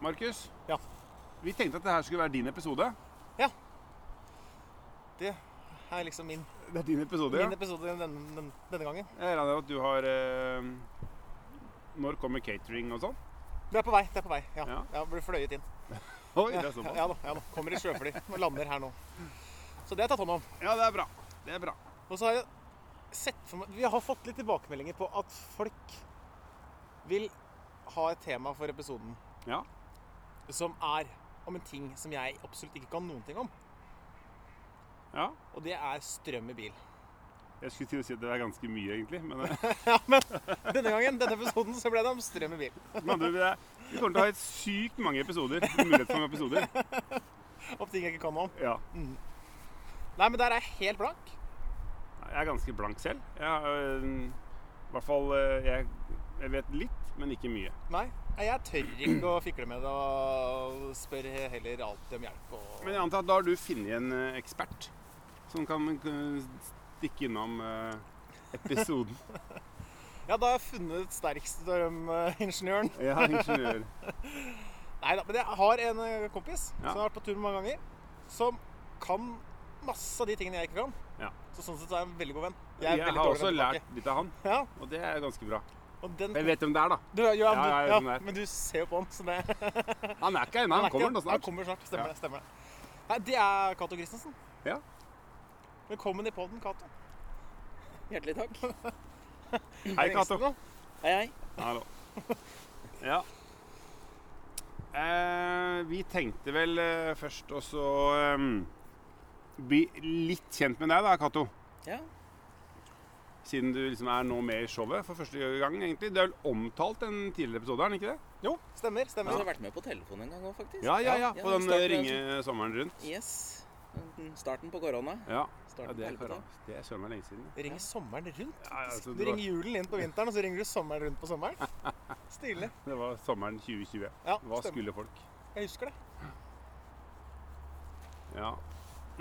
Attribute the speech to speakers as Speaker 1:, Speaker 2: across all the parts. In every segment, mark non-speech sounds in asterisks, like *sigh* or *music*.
Speaker 1: Markus,
Speaker 2: Ja.
Speaker 1: vi tenkte at det her skulle være din episode.
Speaker 2: Det er liksom min,
Speaker 1: Det er din episode, ja.
Speaker 2: min episode denne, den- denne gangen.
Speaker 1: Jeg regner med at du har eh, Når kommer catering og sånn?
Speaker 2: Det er på vei. det er på vei, ja.
Speaker 1: Ja.
Speaker 2: Jeg blir fløyet inn.
Speaker 1: Oi,
Speaker 2: Ja,
Speaker 1: det er sånn,
Speaker 2: ja,
Speaker 1: såpass.
Speaker 2: ja, da, ja da. Kommer i sjøfly og lander her nå. Så det har jeg tatt hånd om.
Speaker 1: Ja, det er bra. Det er bra.
Speaker 2: Og så har jeg sett for meg Vi har fått litt tilbakemeldinger på at folk vil ha et tema for episoden
Speaker 1: Ja.
Speaker 2: som er om en ting som jeg absolutt ikke kan noen ting om.
Speaker 1: ja.
Speaker 2: Og det er strøm i bil.
Speaker 1: Jeg skulle til å si at det er ganske mye, egentlig. Men, eh, *laughs*
Speaker 2: Denne gangen, denne episoden, så ble det om strøm i bil.
Speaker 1: med andre ord, det er- vi kommer til å ha et sykt mange episoder. Mulighet for mange episoder.
Speaker 2: Om ting jeg ikke kan noe om.
Speaker 1: Ja.
Speaker 2: Nei, men der er jeg helt blank.
Speaker 1: Jeg er ganske blank selv. Jeg, har, eh, I hvert fall eh, jeg, jeg vet litt, men ikke mye.
Speaker 2: Nei, jeg tør ikke å fikle med det og spør heller alltid om hjelp. Og...
Speaker 1: Men jeg antar at da har du funnet en eh, ekspert som kan eh, stikke innom eh,
Speaker 2: *laughs*
Speaker 1: episoden.
Speaker 2: Ja, da har jeg funnet sterkstrømingeniøren.
Speaker 1: Ja, ingeniør.
Speaker 2: Nei da, men jeg har en eh, kompis
Speaker 1: Ja.
Speaker 2: som jeg har vært på tur med mange ganger, som kan masse av de tingene jeg ikke kan.
Speaker 1: Ja.
Speaker 2: Så sånn sett så er jeg en veldig god venn.
Speaker 1: Jeg,
Speaker 2: er veldig
Speaker 1: har
Speaker 2: dårlig
Speaker 1: også
Speaker 2: venn tilbake.
Speaker 1: lært litt av han,
Speaker 2: Ja,
Speaker 1: og det er ganske bra.
Speaker 2: og den...
Speaker 1: Jeg vet hvem det er, da.
Speaker 2: Du, ja, ja,
Speaker 1: ja,
Speaker 2: du,
Speaker 1: jeg vet
Speaker 2: ja,
Speaker 1: hvem det er.
Speaker 2: men du ser jo på han, så det...
Speaker 1: Han er ikke her ennå. *laughs* Han
Speaker 2: er ikke-
Speaker 1: kommer nå
Speaker 2: *laughs* Han
Speaker 1: snart.
Speaker 2: kommer snart, stemmer
Speaker 1: Ja.
Speaker 2: det. stemmer det. Nei, det er Cato Christensen.
Speaker 1: Ja.
Speaker 2: Velkommen i podden, Cato.
Speaker 3: Hjertelig takk.
Speaker 1: Hei, Cato.
Speaker 3: Hei, hei.
Speaker 1: Hallo. Ja. Eh, vi tenkte vel eh, først også eh, bli litt kjent med deg, da, Cato.
Speaker 3: Ja.
Speaker 1: Siden du liksom er nå med i showet for første gang, egentlig. Det er vel omtalt en tidligere episode, er den ikke det?
Speaker 2: Jo, stemmer,
Speaker 3: Men
Speaker 2: stemmer.
Speaker 3: du har vært med på telefon en gang òg, faktisk.
Speaker 1: Ja, ja, ja. På den eh,
Speaker 3: starten-
Speaker 1: ringe sommeren rundt.
Speaker 3: Yes. Den Starten på korona.
Speaker 1: Ja. ja
Speaker 3: Starten
Speaker 1: det er
Speaker 3: på helvete.
Speaker 1: korrekt. Det er søren meg lenge siden. ja.
Speaker 2: Ringer sommeren rundt?
Speaker 1: Ja, ja, altså,
Speaker 2: Du
Speaker 1: det,
Speaker 2: ringer
Speaker 1: var,
Speaker 2: julen inn på vinteren, og så ringer du sommeren rundt på sommeren? Stilig.
Speaker 1: det var sommeren 2020.
Speaker 2: Ja,
Speaker 1: Hva
Speaker 2: stemmer.
Speaker 1: skulle folk?
Speaker 2: Jeg husker det.
Speaker 1: Ja.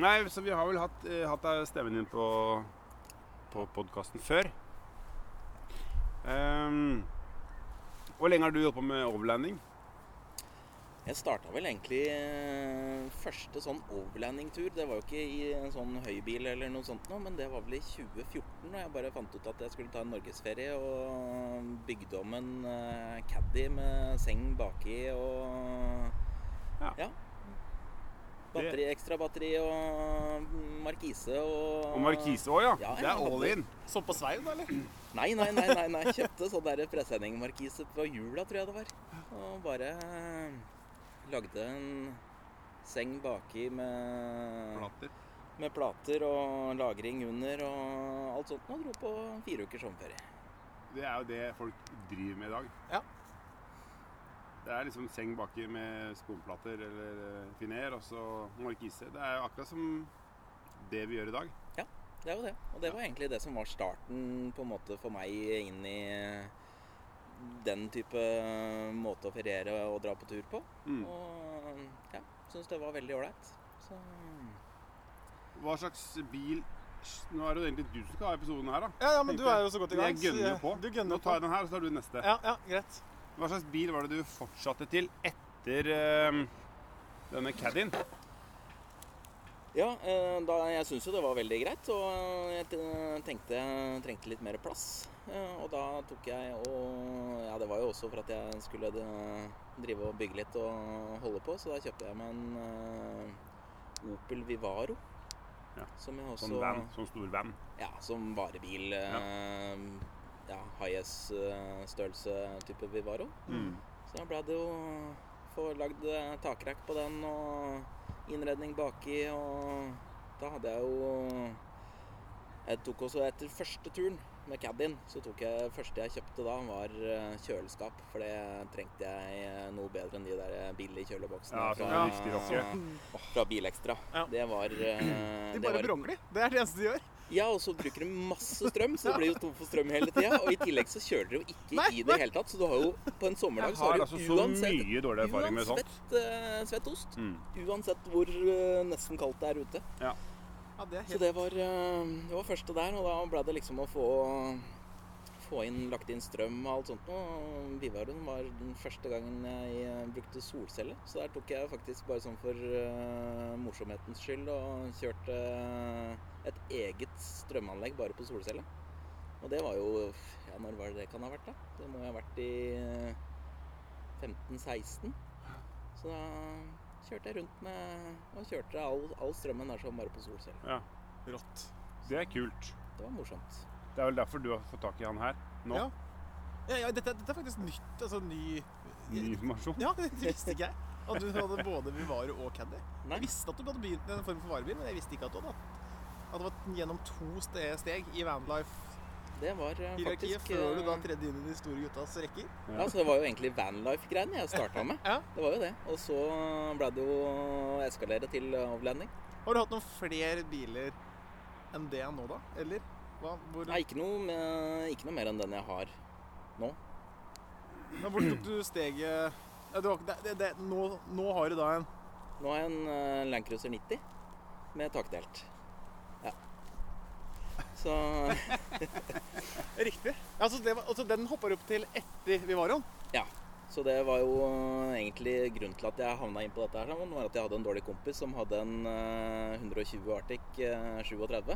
Speaker 1: Nei, så vi har vel hatt, eh, hatt deg stemmen din på, på podkasten før. Ehm, hvor lenge har du holdt på med overlanding?
Speaker 3: Jeg starta vel egentlig eh, første sånn overlandingtur. Det var jo ikke i en sånn høybil eller noe sånt nå, men det var vel i 2014. Og jeg bare fant ut at jeg skulle ta en norgesferie og bygde om en eh, caddy med seng baki og
Speaker 1: Ja.
Speaker 3: ja. Batteri, ekstra batteri og markise og
Speaker 1: Og Markise òg, ja.
Speaker 3: Ah. Ja,
Speaker 1: Det er
Speaker 3: jeg
Speaker 1: all
Speaker 3: hadde-
Speaker 1: in.
Speaker 2: Så på Svein, da, eller?
Speaker 3: Nei, nei, nei, nei, nei. Kjøpte sånn der presenning-markise på jula, tror jeg det var. Og bare eh, lagde en seng baki med,
Speaker 1: Plater.
Speaker 3: med plater og lagring under og alt sånt. Og dro på fire ukers sommerferie.
Speaker 1: Det er jo det folk driver med i dag.
Speaker 2: Ja.
Speaker 1: Det er liksom seng baki med sponplater eller eh, finer, og så markise. Det er jo akkurat som det vi gjør i dag.
Speaker 3: Det er jo det. Og det var egentlig det som var starten på en måte for meg inn i den type måte å feriere og dra på tur på.
Speaker 1: Mm.
Speaker 3: Og ja, syns det var veldig ålreit. Så
Speaker 1: Hva slags bil Nå er det jo egentlig du som skal ha episoden her, da.
Speaker 2: Ja, ja, men du er jo så godt i gang.
Speaker 1: Jeg gønner jo
Speaker 2: så
Speaker 1: på.
Speaker 2: Du
Speaker 1: Nå
Speaker 2: gønner
Speaker 1: tar
Speaker 2: på.
Speaker 1: jeg den her, og så tar du neste.
Speaker 2: Ja, ja, greit.
Speaker 1: Hva slags bil var det du fortsatte til etter eh, denne Caddien?
Speaker 3: Ja, eh, da, jeg syns jo det var veldig greit, og eh, jeg te- tenkte jeg trengte litt mer plass. Eh, Og da tok jeg og Ja, det var jo også for at jeg skulle de- drive og bygge litt og holde på, så da kjøpte jeg meg en eh, Opel Vivaro.
Speaker 1: Ja,
Speaker 3: Som jeg også
Speaker 1: Sånn van, sånn stor van.
Speaker 3: Ja, som varebil. eh, Ja, Highas-størrelse type Vivaro.
Speaker 1: Mm.
Speaker 3: Så da ble det jo få lagd eh, takrekk på den og innredning baki og Da hadde jeg jo Jeg tok også etter første turen med Caddien, så tok jeg første jeg kjøpte da, var eh, kjøleskap. For det trengte jeg eh, noe bedre enn de der eh, billige kjøleboksene
Speaker 1: Ja, sånn
Speaker 3: fra,
Speaker 1: riktig rocker.
Speaker 3: fra Bilekstra.
Speaker 2: Ja.
Speaker 3: Det
Speaker 1: *clears throat*
Speaker 3: var eh,
Speaker 2: De
Speaker 3: det
Speaker 2: bare
Speaker 3: var-
Speaker 2: brongler. Det er det eneste de gjør.
Speaker 3: ja, og så bruker de masse strøm, så det blir jo tom for strøm hele tida. Og i tillegg så kjører dere jo ikke
Speaker 2: Nei,
Speaker 3: i det hele tatt, så du har jo på en sommerdag
Speaker 1: Jeg
Speaker 3: så
Speaker 1: har
Speaker 3: har
Speaker 1: altså
Speaker 3: du
Speaker 1: så
Speaker 3: uansett
Speaker 1: mye dårlig erfaring med sånt.
Speaker 3: Uansett eh, svett ost.
Speaker 1: Mm.
Speaker 3: Uansett hvor eh, nesten kaldt det er ute.
Speaker 2: Ja, det er
Speaker 3: Så
Speaker 2: helt...
Speaker 3: det var, eh, det var første der, og da ble det liksom å få få inn, lagt inn strøm og alt sånt. Og Vivaren var den første gangen jeg eh, brukte solcelle. Så der tok jeg faktisk bare sånn for eh, morsomhetens skyld og kjørte eh, et eget strømanlegg bare på solcelle. Og det var jo Ja, når var det det kan ha vært, da? Det må jo ha vært i eh, 15-16. Så da kjørte jeg rundt med Og kjørte all, all strømmen der sånn bare på solcelle.
Speaker 1: Ja,
Speaker 2: Rått.
Speaker 1: Det er kult.
Speaker 3: Det var morsomt.
Speaker 1: Det er vel derfor du har fått tak i han her nå.
Speaker 2: Ja. Ja, ja, dette, dette er faktisk nytt. Altså ny
Speaker 1: Ny informasjon.
Speaker 2: Ja, det visste ikke jeg. At du hadde både Vivaro og Caddy.
Speaker 3: Nei.
Speaker 2: Jeg visste at du hadde begynt med en form for varebil, men jeg visste ikke at du hadde hatt at det var gjennom to ste- steg i vanlife-hierarkiet
Speaker 3: Det var eh, faktisk
Speaker 2: før du da
Speaker 3: eh,
Speaker 2: tredde inn i de store guttas rekker.
Speaker 1: Ja.
Speaker 3: Ja, så det var jo egentlig vanlife-greiene jeg starta med.
Speaker 2: *laughs* Ja.
Speaker 3: Det var jo det. Og så ble det jo eskalere til eh, avlanding.
Speaker 2: Har du hatt noen flere biler enn det nå, da? Eller? Hva, hvor,
Speaker 3: Nei, ikke noe, med, ikke noe mer enn den jeg har.
Speaker 2: men hvor tok du steget ja, det var, ikke- det, det, det, nå, nå har du da en
Speaker 3: Nå har jeg en eh, Land Cruiser 90 med takdelt. Ja. Så
Speaker 2: Riktig. Altså, det var, altså den hoppa opp til etter Vivaroen?
Speaker 3: Så det var jo eh, egentlig grunnen til at jeg havna inn på dette her. sammen, var at jeg hadde en dårlig kompis som hadde en eh, 120 Arctic eh, 37.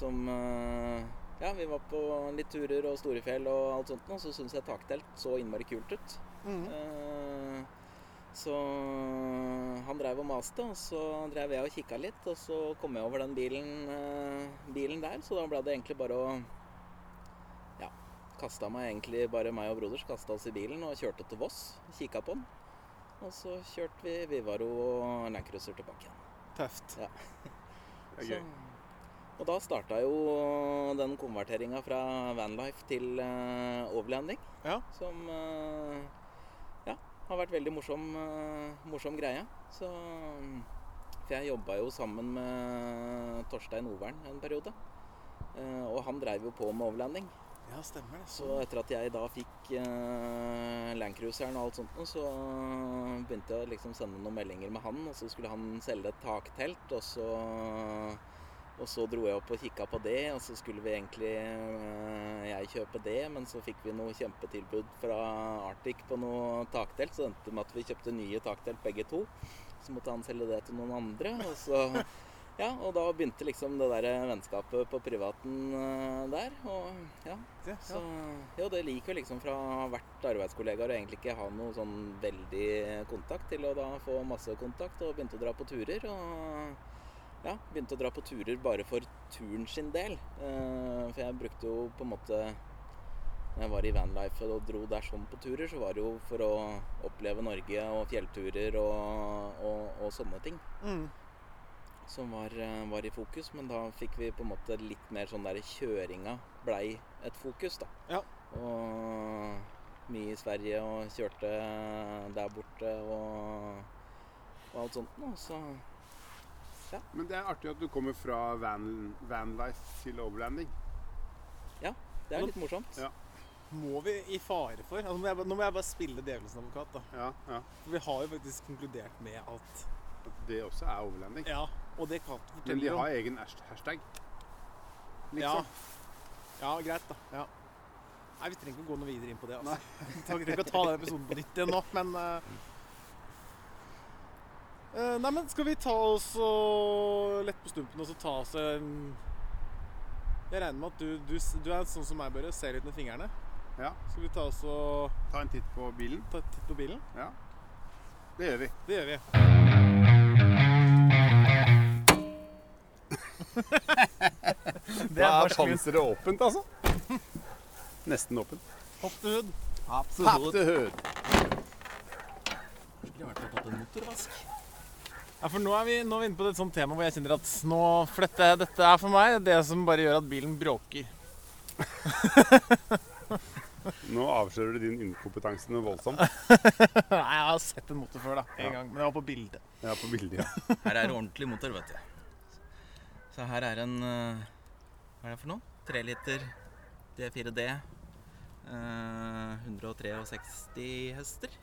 Speaker 3: Som eh, Ja, vi var på litt turer og storefjell og alt sånt, og så syntes jeg taktelt så innmari kult ut.
Speaker 2: Mm.
Speaker 3: Eh, Så han dreiv og maste, og så dreiv jeg og kikka litt. Og så kom jeg over den bilen, eh, bilen der, så da ble det egentlig bare å Ja. Kasta meg egentlig bare meg og broders kasta oss i bilen og kjørte til Voss. Kikka på den. Og så kjørte vi Vivaro og Land Cruiser tilbake igjen.
Speaker 2: Tøft.
Speaker 1: Det er gøy.
Speaker 3: Så- Og da starta jo den konverteringa fra vanlife til eh, overlanding.
Speaker 2: Ja.
Speaker 3: Som eh, ja, har vært veldig morsom, eh, morsom greie. Så For jeg jobba jo sammen med Torstein Overn en periode. Eh, og han dreiv jo på med overlanding.
Speaker 2: Ja, stemmer det.
Speaker 3: Så etter at jeg da fikk eh, Landcruiseren og alt sånt, noe, så begynte jeg å liksom sende noen meldinger med han, og så skulle han selge et taktelt, og så, og så dro jeg opp og kikka på det, og så skulle vi egentlig eh, jeg kjøpe det, men så fikk vi noe kjempetilbud fra Arctic på noe taktelt, så det endte med at vi kjøpte nye taktelt begge to. Så måtte han selge det til noen andre, og så Ja, og da begynte liksom det der vennskapet på privaten eh, der, og ja.
Speaker 2: Det,
Speaker 3: Så, ja, det liker jeg liksom fra å ha vært arbeidskollegaer og egentlig ikke ha noe sånn veldig kontakt, til å da få masse kontakt og begynte å dra på turer. Og ja, begynte å dra på turer bare for turen sin del. Eh, For jeg brukte jo på en måte Når jeg var i vanlife og dro der sånn på turer, så var det jo for å oppleve Norge og fjellturer og, og, og sånne ting
Speaker 2: Mm.
Speaker 3: som var, eh, var i fokus, men da fikk vi på en måte litt mer sånn der kjøringa blei et fokus, da.
Speaker 2: Ja.
Speaker 3: Og mye i Sverige og kjørte eh, der borte og, og alt sånt noe, så
Speaker 1: Men det er artig at du kommer fra van, vanlife til overlanding.
Speaker 3: det er litt morsomt.
Speaker 1: Ja.
Speaker 2: Må vi i fare for altså, nå, må jeg, bare- nå må jeg bare spille djevelens advokat, da.
Speaker 1: Ja, ja.
Speaker 2: For vi har jo faktisk konkludert med at
Speaker 1: At det også er overlanding.
Speaker 2: Ja, og det kan
Speaker 1: Men
Speaker 2: fortelle
Speaker 1: de
Speaker 2: om.
Speaker 1: har egen hasht- hashtag.
Speaker 2: ja.
Speaker 1: Liksom.
Speaker 2: ja, greit, da. Ja. Nei, vi trenger ikke å gå noe videre inn på det. Altså. *laughs* Vi trenger ikke å ta den episoden på nytt igjen nå, men eh, eh, Nei, men skal vi ta oss og lette på stumpen og så ta oss en Jeg regner med at du, du, s- du er sånn som meg, Børre. Ser ut med fingrene.
Speaker 1: Ja.
Speaker 2: Skal vi ta oss og
Speaker 1: Ta en titt på bilen.
Speaker 2: ta en titt på bilen?
Speaker 1: Ja. Det gjør vi.
Speaker 2: Det gjør vi.
Speaker 1: *laughs*
Speaker 2: det
Speaker 1: Da er panseret åpent, altså. Nesten åpent.
Speaker 2: Hopp til hud.
Speaker 1: Pap the hood.
Speaker 2: Ja, for nå er, vi, nå er vi inne på et sånt tema hvor jeg kjenner at nå flytter jeg Dette er for meg det som bare gjør at bilen bråker.
Speaker 1: Nå avslører du din inkompetanse noe voldsomt.
Speaker 2: *laughs* Nei, jeg har sett en motor før, da. En
Speaker 1: Ja.
Speaker 2: gang. Men det var på bildet.
Speaker 1: Jeg er på bildet, ja.
Speaker 3: Her er det ordentlig motor, vet du. Så her er en eh, Hva er det for noe? 3 liter D4D. eh, 163 hester.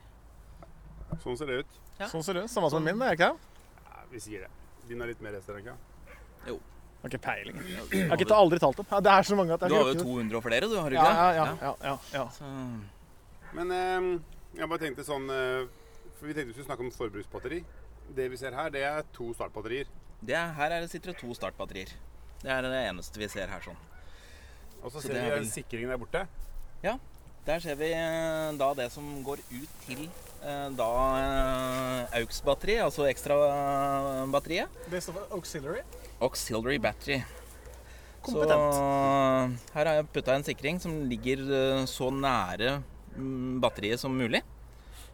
Speaker 1: Sånn ser det ut.
Speaker 3: Ja.
Speaker 2: Sånn ser det ut. Samme som min, det, er ikke det?
Speaker 1: Ja, vi sier det. Din er litt mer restaurant, ja.
Speaker 3: Jo.
Speaker 2: Har ikke peiling. Jeg har ikke ta- aldri talt opp. Ja, Det er så mange at
Speaker 3: Du
Speaker 2: jeg
Speaker 3: har jo
Speaker 2: ikke-
Speaker 3: 200 og flere, du, har du
Speaker 2: Ja,
Speaker 3: ikke
Speaker 2: ja, ja,
Speaker 3: det?
Speaker 2: ja, ja, ja.
Speaker 3: Så,
Speaker 1: Men eh, jeg bare tenkte sånn eh, For vi tenkte vi skulle snakke om forbruksbatteri. Det vi ser her, det er to startbatterier.
Speaker 3: det, er- her er det sitter det to startbatterier. Det er det eneste vi ser her sånn.
Speaker 1: Og så
Speaker 3: Så
Speaker 1: ser
Speaker 3: det
Speaker 1: vi
Speaker 3: er vel-
Speaker 1: den sikringen der borte.
Speaker 3: Der ser vi eh, da det som går ut til eh, da eh, AUX-batteri, altså eh, ekstrabatteriet.
Speaker 2: Det står for auxiliary.
Speaker 3: Auxiliary battery.
Speaker 2: Kompetent.
Speaker 3: Så eh, her har jeg putta en sikring som ligger eh, så nære mm, batteriet som mulig.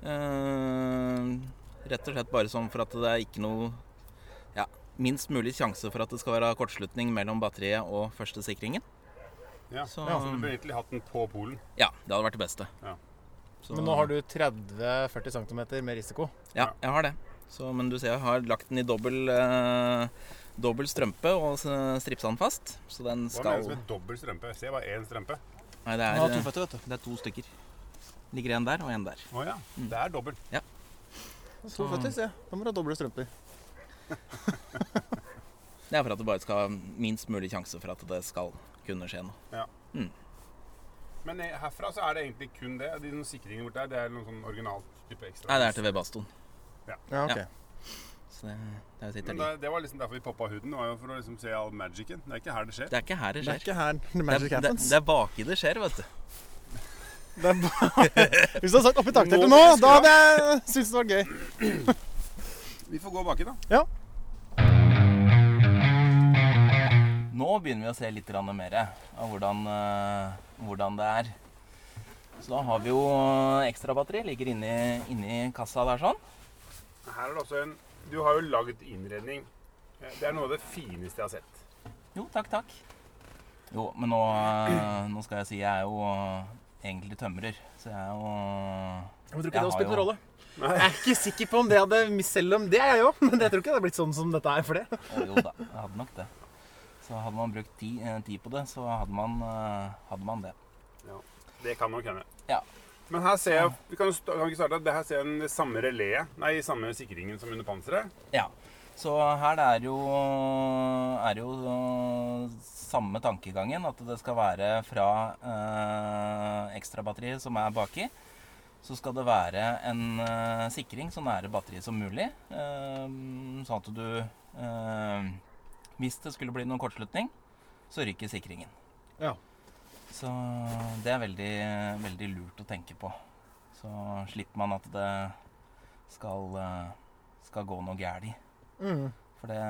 Speaker 3: Eh, Rett og slett bare sånn for at det er ikke noe Ja, minst mulig sjanse for at det skal være kortslutning mellom batteriet og første sikringen.
Speaker 1: Ja.
Speaker 3: Så,
Speaker 1: Så du burde egentlig hatt den på polen.
Speaker 3: ja, det hadde vært det beste.
Speaker 1: Ja.
Speaker 3: Så-
Speaker 4: Men nå har du 30-40 cm med risiko.
Speaker 3: Ja, jeg har det. Så, men du ser jeg har lagt den i dobbel, eh, dobbel strømpe og s- stripsa den fast. Så den
Speaker 1: Hva menes
Speaker 3: skal
Speaker 1: med dobbel strømpe? Jeg ser bare én strømpe.
Speaker 3: Nei, det
Speaker 4: Den har to
Speaker 3: er,
Speaker 4: føtter, vet du.
Speaker 3: det er to stykker. Ligger en der og en der.
Speaker 1: Å ja.
Speaker 3: Mm.
Speaker 1: Det er dobbel.
Speaker 4: To føtter, se. Da må du ha doble strømper.
Speaker 3: Det er for at det bare skal ha minst mulig sjanse for at det skal kunne skje noe.
Speaker 1: Men eh, herfra så er det egentlig kun det. De noen sikringene borte der, det er noen sånn original type ekstra.
Speaker 3: Nei, det er til vedbastoen.
Speaker 4: Ja, ok.
Speaker 3: Ja. Så det, der
Speaker 1: Men
Speaker 3: sitter de.
Speaker 1: det, det var liksom derfor vi poppa huden. Det var jo for å liksom se all magicen. Det er ikke her det skjer.
Speaker 3: Det er ikke her det
Speaker 4: Det er
Speaker 3: skjer.
Speaker 4: ikke her the
Speaker 3: Det er,
Speaker 4: magic
Speaker 3: det,
Speaker 4: happens.
Speaker 3: det er baki det skjer, vet du.
Speaker 4: Det er bare- Hvis du hadde sagt oppi takteltet
Speaker 1: Nå
Speaker 4: nå,
Speaker 1: husker
Speaker 4: da
Speaker 1: jeg.
Speaker 4: hadde jeg syntes det var gøy.
Speaker 1: Vi får gå baki, da.
Speaker 3: Nå begynner vi å se litt grann mer av hvordan, eh, hvordan det er. Så da har vi jo ekstrabatteri. Ligger inni, inni kassa der sånn.
Speaker 1: Her er det også en Du har jo lagd innredning. Eh, Det er noe av det fineste jeg har sett.
Speaker 3: Jo, takk, takk. Jo, men nå, eh, nå skal jeg si jeg er jo eh, egentlig tømrer. Så jeg er jo
Speaker 4: Jeg tror
Speaker 3: ikke det hadde spilt noen rolle.
Speaker 4: Jeg er ikke sikker på om det hadde Selv om det er jeg òg, men jeg tror ikke det hadde blitt sånn som dette er for det.
Speaker 3: Å, eh, Jo da, jeg hadde nok det. Så hadde man brukt ti- eh, tid på det, så hadde man, eh, hadde man det.
Speaker 1: Det kan nok hende.
Speaker 3: Ja.
Speaker 1: Men her ser jeg Vi kan, jo sta- kan vi ikke starte at det her ser jeg den samme reléet Nei, samme sikringen som under panseret.
Speaker 3: Ja. Så her det er jo, er jo eh, samme tankegangen, at det skal være fra eh, ekstrabatteriet som er baki, så skal det være en eh, sikring så nære batteriet som mulig, eh, sånn at du eh, Hvis det skulle bli noen kortslutning, så ryker sikringen.
Speaker 4: Ja.
Speaker 3: Så det er veldig, veldig lurt å tenke på. Så slipper man at det skal, eh, skal gå noe gærent.
Speaker 4: Mm.
Speaker 3: For det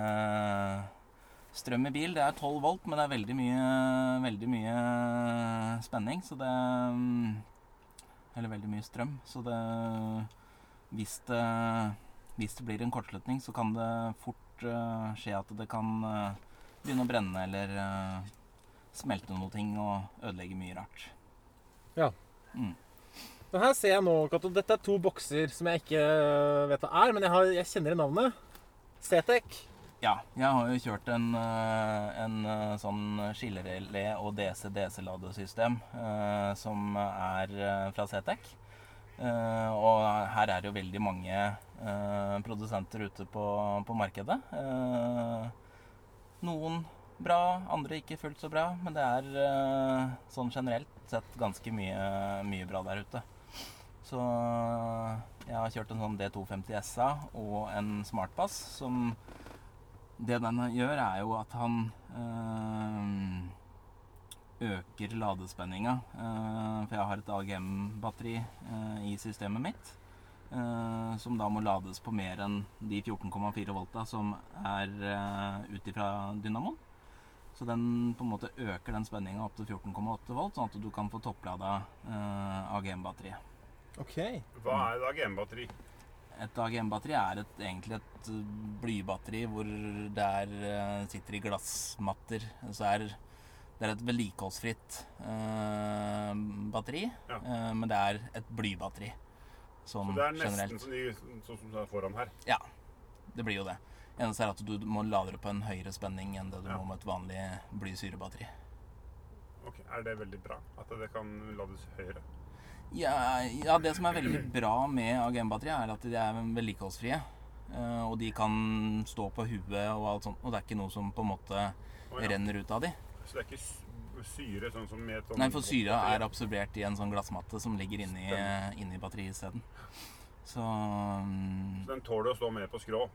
Speaker 3: Strøm i bil, det er 12 volt, men det er veldig mye, veldig mye spenning, så det mm, Eller veldig mye strøm, så det Hvis det, hvis det blir en kortslutning, så kan det fort eh, skje at det kan eh, begynne å brenne eller eh, smelte noe ting og ødelegge mye rart.
Speaker 4: Men her ser jeg nå, Cato, dette er to bokser som jeg ikke eh, vet hva er, men jeg, har, jeg kjenner navnet. Cetec.
Speaker 3: Ja, jeg har jo kjørt en, eh, en eh, sånn skillerelé og DC-DC-ladesystem eh, som er eh, fra CTEC. Eh, og her er det jo veldig mange eh, produsenter ute på, på markedet. Eh, noen bra, andre ikke fullt så bra, men det er eh, sånn generelt sett ganske mye, mye bra der ute. Så jeg har kjørt en sånn D250 SA og en Smartpass som det den gjør, er jo at han øhm, øker ladespenninga. øh, for jeg har et AGM-batteri øh, i systemet mitt. øh, som da må lades på mer enn de 14,4 volta som er øh, ut ifra dynamoen. Så den på en måte øker den spenninga opp til 14,8 volt, sånn at du kan få topplada øh, AGM-batteriet.
Speaker 4: Ok.
Speaker 1: Hva er det da GM-batteri?
Speaker 3: Et AGM-batteri er et, egentlig et uh, blybatteri hvor det er, uh, sitter i glassmatter. Så er, det er et vedlikeholdsfritt uh, batteri,
Speaker 1: Ja.
Speaker 3: uh, men det er et blybatteri
Speaker 1: Så
Speaker 3: sånn
Speaker 1: det er nesten
Speaker 3: generelt.
Speaker 1: som de sånn som det er foran her.
Speaker 3: Ja, det blir jo det. Eneste er at du må lade det på en høyere spenning enn det du
Speaker 1: Ja.
Speaker 3: må med et vanlig blysyrebatteri.
Speaker 1: Ok, Er det veldig bra? At det kan lades høyere?
Speaker 3: Ja, ja, det som er veldig bra med AGM-batteriet, er at de er vedlikeholdsfrie. eh, Og de kan stå på huet og alt sånt, og det er ikke noe som på en måte
Speaker 1: Å, ja.
Speaker 3: renner ut av de.
Speaker 1: Så det er ikke s- syre sånn som med et sånn
Speaker 3: Nei, for syra
Speaker 1: batteri?
Speaker 3: er absorbert i en sånn glassmatte som ligger inni,
Speaker 1: Stemmer.
Speaker 3: inni batteriet isteden. Så mm,
Speaker 1: Så Den tåler å stå mer på skrå,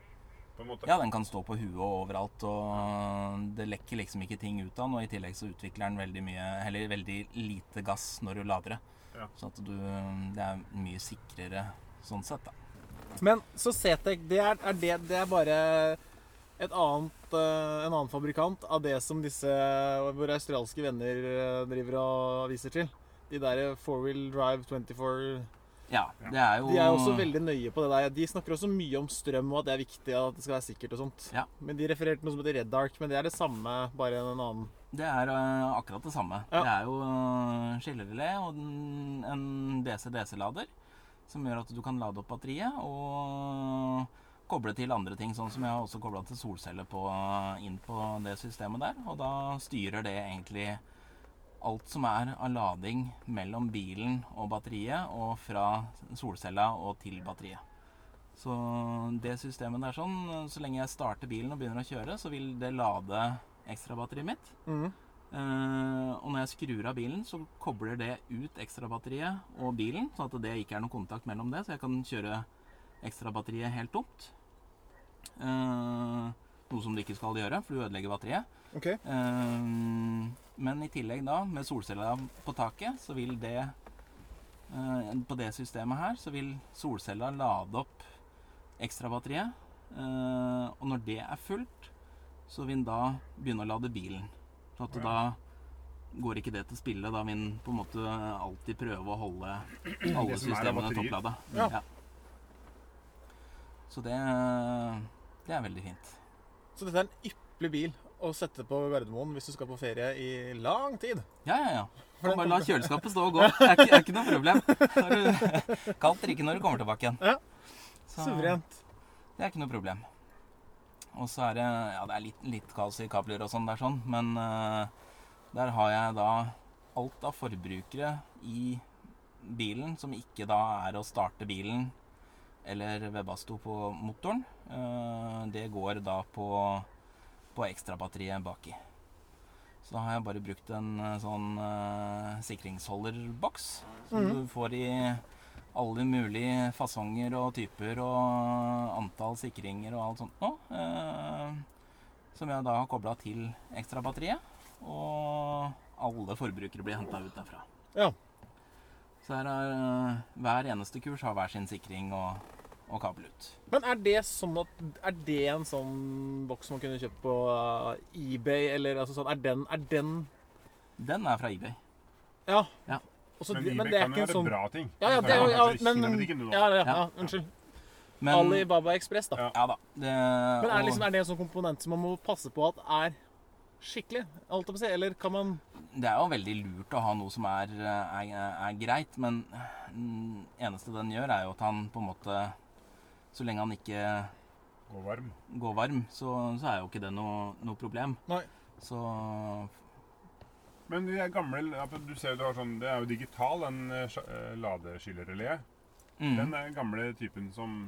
Speaker 1: på en måte.
Speaker 3: Ja, den kan stå på huet og overalt, og det lekker liksom ikke ting ut av den. Og i tillegg så utvikler den veldig mye, eller veldig lite gass når du lader det.
Speaker 1: Ja.
Speaker 3: Så at du mm, Det er mye sikrere sånn sett, da.
Speaker 2: Men så Cetec, det er, er det, det er bare et annet, eh, en annen fabrikant av det som disse våre australske venner eh, driver og viser til. De der four-wheel drive 24
Speaker 3: Ja, det er jo
Speaker 2: De er også veldig nøye på det der. De snakker også mye om strøm og at det er viktig og at det skal være sikkert og sånt.
Speaker 3: Ja.
Speaker 2: Men de refererte noe som heter Red Dark, men det er det samme, bare en annen
Speaker 3: Det er øh, akkurat det samme.
Speaker 2: Ja.
Speaker 3: Det er jo øh, skillerelé og den- en DC-DC-lader som gjør at du kan lade opp batteriet og eh, koble til andre ting, sånn som jeg har også kobla til solceller på, eh, inn på det systemet der. Og da styrer det egentlig alt som er av lading mellom bilen og batteriet, og fra solcella og til batteriet. Så eh, det systemet der sånn, så lenge jeg starter bilen og begynner å kjøre, så vil det lade ekstrabatteriet mitt.
Speaker 2: Mhm.
Speaker 3: Eh, og når jeg skrur av bilen, så kobler det ut ekstrabatteriet og bilen, sånn at det ikke er noen kontakt mellom det, så jeg kan kjøre ekstrabatteriet helt tomt. Eh, noe som det ikke skal gjøre, for du ødelegger batteriet.
Speaker 2: Ok.
Speaker 3: Eh, men i tillegg da, med solcella på taket, så vil det eh, På det systemet her, så vil solcella lade opp ekstrabatteriet. Eh, og når det er fullt, så vil den da begynne å lade bilen. Så at da går ikke det til spille. Da vil den på en måte alltid prøve å
Speaker 1: *clears throat*
Speaker 3: holde alle
Speaker 1: Det som er av
Speaker 3: systemene
Speaker 1: batterier.
Speaker 3: topplada.
Speaker 2: Ja.
Speaker 3: Så det, det er veldig fint.
Speaker 2: Så dette er en ypperlig bil å sette på Gardermoen hvis du skal på ferie i lang tid.
Speaker 3: Ja, ja, ja. Kan bare la kjøleskapet stå og gå. Det er ikke, det er ikke noe
Speaker 2: *laughs*
Speaker 3: problem. Da har du kaldt drikke når du kommer tilbake igjen.
Speaker 2: Ja.
Speaker 3: Så
Speaker 2: Suverent.
Speaker 3: Det er ikke noe problem. Og så er det Ja, det er litt, litt kaos i kabler og sånn der, sånn, men eh, der har jeg da alt av forbrukere i bilen som ikke da er å starte bilen eller Webasto på motoren. Eh, det går da på, på ekstrabatteriet baki. Så da har jeg bare brukt en eh, sånn eh, sikringsholderboks som
Speaker 2: Mhm.
Speaker 3: du får i alle mulige fasonger og typer og antall sikringer og alt sånt nå. Eh, som jeg da har kobla til ekstrabatteriet. Og alle forbrukere blir henta ut derfra.
Speaker 2: Ja.
Speaker 3: Så her er, eh, hver eneste kurs har hver sin sikring og, og kabel ut.
Speaker 2: Men er det sånn at Er det en sånn boks man kunne kjøpt på eh, eBay, eller altså sånn Er den, er den
Speaker 3: Den er fra eBay.
Speaker 2: Ja.
Speaker 3: Ja.
Speaker 2: Og så-
Speaker 1: Men
Speaker 2: men,
Speaker 1: Ibe
Speaker 2: det er
Speaker 1: kan jo
Speaker 2: ikke en
Speaker 1: være
Speaker 2: sånn
Speaker 1: bra ting.
Speaker 2: Ja, ja,
Speaker 1: Du
Speaker 2: det er
Speaker 1: kan
Speaker 2: jo ja,
Speaker 1: faktisk
Speaker 2: men,
Speaker 1: kile med drikken, du, da.
Speaker 2: ja, ja, ja,
Speaker 3: Ja.
Speaker 2: unnskyld.
Speaker 3: Men,
Speaker 2: Alibaba Ekspress, da.
Speaker 1: Ja.
Speaker 3: Ja da. Det,
Speaker 2: Men er,
Speaker 3: og-
Speaker 2: det liksom, er det en sånn komponent som man må passe på at er skikkelig? Holdt jeg på å si, eller kan man
Speaker 3: Det er jo veldig lurt å ha noe som er, er, er greit, men den eneste den gjør, er jo at han på en måte Så lenge han ikke
Speaker 1: Gå varm.
Speaker 3: går varm, så, så er jo ikke det noe, noe problem.
Speaker 2: Nei.
Speaker 3: Så
Speaker 1: Men de er gamle ja, for Du ser jo du har sånn Det er jo digital, den eh, sj- eh, ladeskillerrelé. Den
Speaker 3: mm.
Speaker 1: er den gamle typen som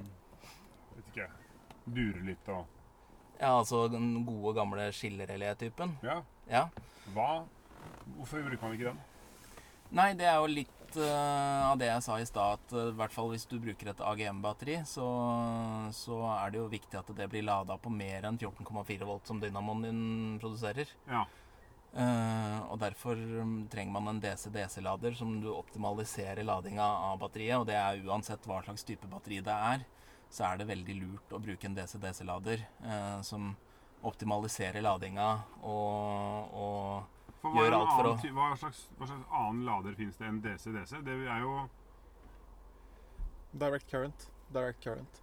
Speaker 1: Vet ikke Durer litt og
Speaker 3: Ja, altså den gode, gamle skillerelé-typen.
Speaker 1: Ja.
Speaker 3: Ja.
Speaker 1: Hva Hvorfor bruker man ikke den?
Speaker 3: Nei, det er jo litt eh, av det jeg sa i stad, at eh, i hvert fall hvis du bruker et AGM-batteri, så, så er det jo viktig at det blir lada på mer enn 14,4 volt som dynamoen din produserer.
Speaker 1: Ja.
Speaker 3: Eh, og derfor mm, trenger man en DC-DC-lader som du optimaliserer ladinga av batteriet, og det er uansett hva slags type batteri det er, så er det veldig lurt å bruke en DC-DC-lader eh, som optimaliserer ladinga og, og
Speaker 1: For hva,
Speaker 3: Gjør
Speaker 1: er en
Speaker 3: alt for
Speaker 1: annen
Speaker 3: å-
Speaker 1: ty- hva, slags, hva slags annen lader finnes det enn DC-DC? Det er jo
Speaker 2: Direct current. Direct current.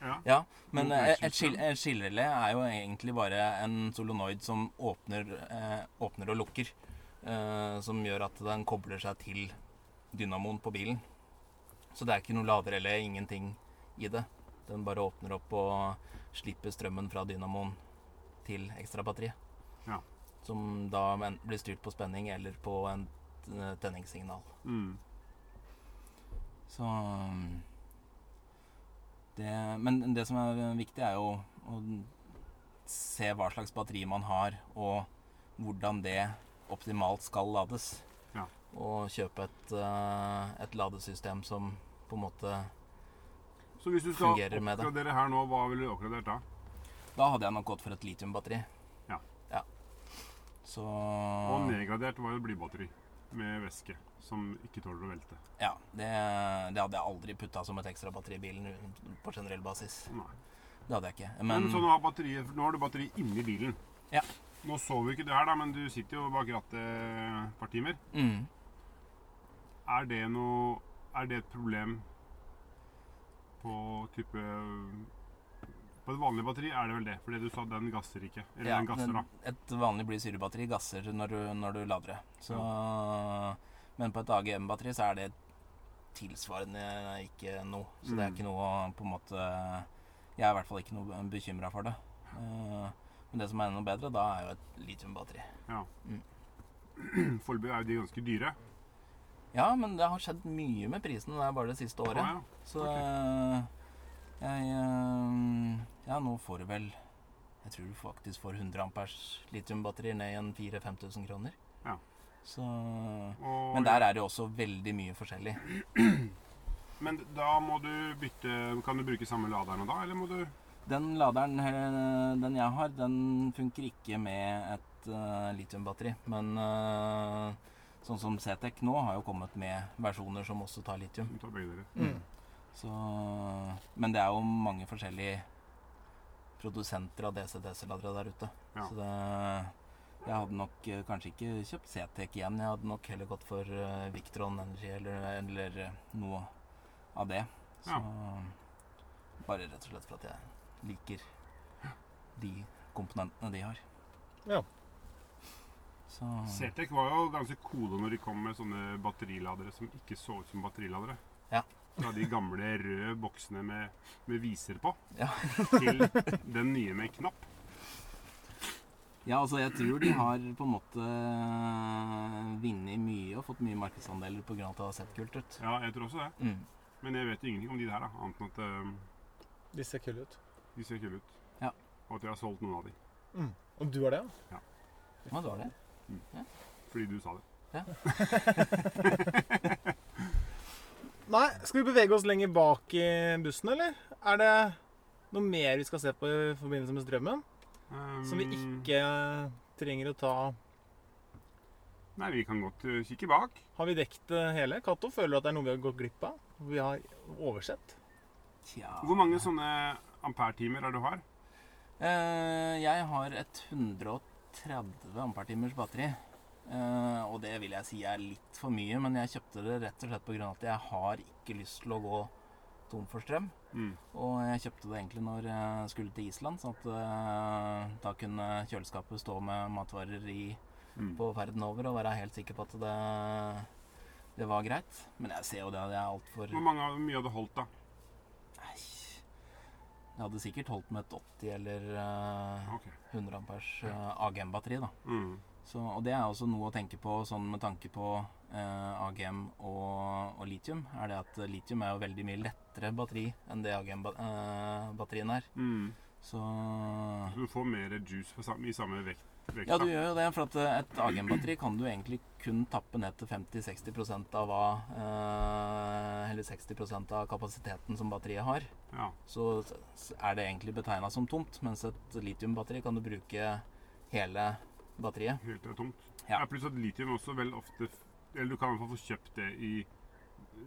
Speaker 1: Ja.
Speaker 3: Ja, men
Speaker 1: Mot
Speaker 3: eh, et,
Speaker 1: matchingstrøm.
Speaker 3: skil- et skillerle er jo egentlig bare en solenoid som åpner, eh, åpner og lukker. Eh, som gjør at den kobler seg til dynamoen på bilen. Så det er ikke noe laderelle, ingenting i det. Den bare åpner opp og slipper strømmen fra dynamoen til ekstrabatteriet.
Speaker 1: Ja.
Speaker 3: Som da enten blir styrt på spenning eller på en eh, tenningssignal.
Speaker 1: mm.
Speaker 3: Så um, det, Men det som er viktig, er jo å se hva slags batteri man har, og hvordan det optimalt skal lades.
Speaker 1: Ja.
Speaker 3: Og kjøpe et, eh, et ladesystem som på en måte
Speaker 1: Så hvis du skal
Speaker 3: Fungerer med det.
Speaker 1: oppgradere her nå, hva ville du oppgradert da?
Speaker 3: Da hadde jeg nok gått for et litiumbatteri.
Speaker 1: Ja.
Speaker 3: ja. Så
Speaker 1: Og nedgradert var jo blybatteri med væske som ikke tåler å velte.
Speaker 3: Ja. Det, det hadde jeg aldri putta som et ekstra batteri i bilen på generell basis.
Speaker 1: Nei.
Speaker 3: Det hadde jeg ikke.
Speaker 1: Men
Speaker 3: Men
Speaker 1: så nå har, batteriet, nå har du batteri inni bilen.
Speaker 3: Ja.
Speaker 1: Nå så vi ikke det her, da, men du sitter jo bak rattet et par timer.
Speaker 3: mm,
Speaker 1: Er det noe Er det et problem på type På et vanlig batteri er det vel det, fordi du sa den gasser ikke. Eller
Speaker 3: ja,
Speaker 1: den gasser,
Speaker 3: men
Speaker 1: da.
Speaker 3: et vanlig blysyrebatteri gasser når du, når du lader det. Så, Men på et AGM-batteri så er det tilsvarende ikke noe. Så det er
Speaker 1: Mm.
Speaker 3: ikke noe å på en måte Jeg er i hvert fall ikke noe bekymra for det. Eh, Men det som er enda bedre, da er jo et litiumbatteri.
Speaker 1: Foreløpig er jo de ganske dyre.
Speaker 3: Ja, men det har skjedd mye med prisene der bare det siste året.
Speaker 1: Å, ja.
Speaker 3: Så
Speaker 1: Ok.
Speaker 3: eh, jeg eh, Ja, nå får du vel Jeg tror du faktisk får 100 ampers litiumbatterier ned igjen 4000-5000 kroner.
Speaker 1: Ja.
Speaker 3: Så
Speaker 1: Og,
Speaker 3: Men der er det jo også veldig mye forskjellig.
Speaker 1: men da må du bytte Kan du bruke samme laderne da, eller må du
Speaker 3: Den laderen eh, den jeg har, den funker ikke med et eh, litiumbatteri. Men eh, sånn som Cetec nå har jo kommet med versjoner som også tar litium.
Speaker 1: ta begge dere?
Speaker 3: Mm. Så, men det er jo mange forskjellige produsenter av DCDC-ladere der ute.
Speaker 1: Ja.
Speaker 3: Så det, jeg hadde nok eh, kanskje ikke kjøpt CTEC igjen. Jeg hadde nok heller gått for eh, Victron Energy eller, eller eh, noe av det. Så bare rett og slett for at jeg liker de komponentene de har.
Speaker 2: Ja.
Speaker 3: Så
Speaker 1: Certec var jo ganske coole når de kom med sånne batteriladere som ikke så ut som batteriladere.
Speaker 3: Ja.
Speaker 1: Fra de gamle røde boksene med, med viser på
Speaker 3: Ja.
Speaker 1: til den nye med knapp.
Speaker 3: Ja, altså jeg tror de har på en måte eh, vunnet mye og fått mye markedsandeler pga. at det har sett kult ut.
Speaker 1: Ja, jeg tror også det.
Speaker 3: Mm.
Speaker 1: Men jeg vet jo ingenting om de der, da. annet enn at øhm,
Speaker 2: De ser kule ut.
Speaker 1: de ser kule ut.
Speaker 3: Ja.
Speaker 1: Og at jeg har solgt noen av de.
Speaker 2: Og du har det, ja?
Speaker 3: Hva var det?
Speaker 1: Fordi du sa det.
Speaker 2: Nei, skal vi bevege oss lenger bak i bussen, eller? Er det noe mer vi skal se på i forbindelse med strømmen?
Speaker 1: Ehm,
Speaker 2: Som vi
Speaker 1: Øhm,
Speaker 2: ikke eh, trenger å ta
Speaker 1: Nei, vi kan godt øh, kikke bak.
Speaker 2: Har vi dekt det hele? Cato, føler du at det er noe vi har gått glipp av? Vi har oversett?
Speaker 3: Tja
Speaker 1: Hvor mange sånne ampertimer er det du har?
Speaker 3: Eh, Jeg har et 130 ampertimers batteri. Eh, og det vil jeg si er litt for mye, men jeg kjøpte det rett og slett pga. at jeg har ikke lyst til å gå tom for strøm.
Speaker 1: Mm.
Speaker 3: Og jeg kjøpte det egentlig når jeg skulle til Island, sånn at eh, da kunne kjøleskapet stå med matvarer i
Speaker 1: Mm.
Speaker 3: på verden over og være helt sikker på at det, det var greit. Men jeg ser jo det at jeg er altfor
Speaker 1: Hvor mange, hvor mye har du holdt, da?
Speaker 3: Nei. Jeg hadde sikkert holdt med et 80 eller eh,
Speaker 1: Ok.
Speaker 3: 100 ampers eh, AGM-batteri, da.
Speaker 1: Mm.
Speaker 3: Så, og det er også noe å tenke på sånn med tanke på eh, AGM og, og litium. Er det at litium er jo veldig mye lettere batteri enn det AGM-batterien eh, er.
Speaker 1: Mm.
Speaker 3: Så
Speaker 1: Så du får mer juice for sam- i samme vekt? vekt
Speaker 3: Ja,
Speaker 1: da.
Speaker 3: du gjør jo det. For at eh, et AGM-batteri kan du egentlig kun tappe ned til 50-60 av hva eh, Eller 60 av kapasiteten som batteriet har.
Speaker 1: Ja.
Speaker 3: så s- er det egentlig betegna som tomt, mens et litiumbatteri kan du bruke hele batteriet.
Speaker 1: Helt til det er tomt.
Speaker 3: Ja.
Speaker 1: Ja. Pluss at litium også vel ofte Eller du kan i hvert fall få kjøpt det i